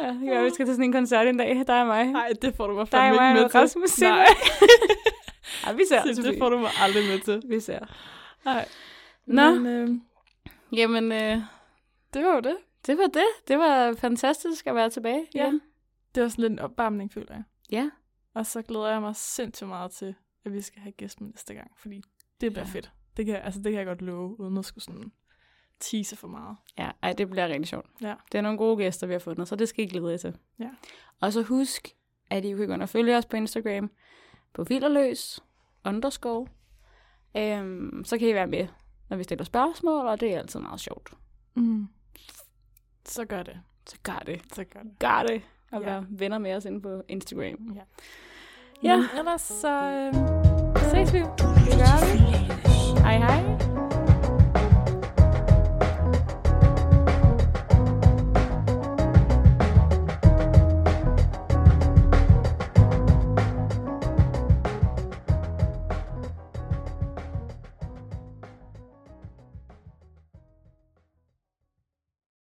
Speaker 2: ja, ja, vi skal til sådan en koncert en dag. Der er mig.
Speaker 1: Nej, det får du mig
Speaker 2: Der er
Speaker 1: fandme
Speaker 2: mig
Speaker 1: ikke med
Speaker 2: og
Speaker 1: til.
Speaker 2: Rasmus Sebak.
Speaker 1: <laughs> Nej,
Speaker 2: Ja, vi ser.
Speaker 1: altså det
Speaker 2: Sofie.
Speaker 1: får du mig aldrig med til.
Speaker 2: Vi ser.
Speaker 1: Nej.
Speaker 2: Nå.
Speaker 1: Men, øh,
Speaker 2: Jamen, øh,
Speaker 1: det var jo det.
Speaker 2: det var det. Det var fantastisk at være tilbage.
Speaker 1: Ja.
Speaker 2: igen.
Speaker 1: Det var sådan lidt en opvarmning, føler jeg.
Speaker 2: Ja.
Speaker 1: Og så glæder jeg mig sindssygt meget til, at vi skal have gæst med næste gang, fordi det bliver
Speaker 2: Ja.
Speaker 1: fedt. Det kan, altså, det kan jeg godt love, uden at skulle sådan tease for meget.
Speaker 2: Ja, ej, det bliver rigtig sjovt.
Speaker 1: Ja.
Speaker 2: Det er nogle gode gæster, vi har fundet, så det skal I glæde jer til.
Speaker 1: Ja.
Speaker 2: Og så husk, at I kan gå ind og følge os på Instagram på filerløs underscore. Øhm, så kan I være med, når vi stiller spørgsmål, og det er altid meget sjovt.
Speaker 1: Mm. Så gør det.
Speaker 2: Så gør det.
Speaker 1: Så gør det.
Speaker 2: Gør det. Og
Speaker 1: Ja.
Speaker 2: ja. være venner med os inde på Instagram.
Speaker 1: Ja.
Speaker 2: Ja.
Speaker 1: Men ellers så øh, ses vi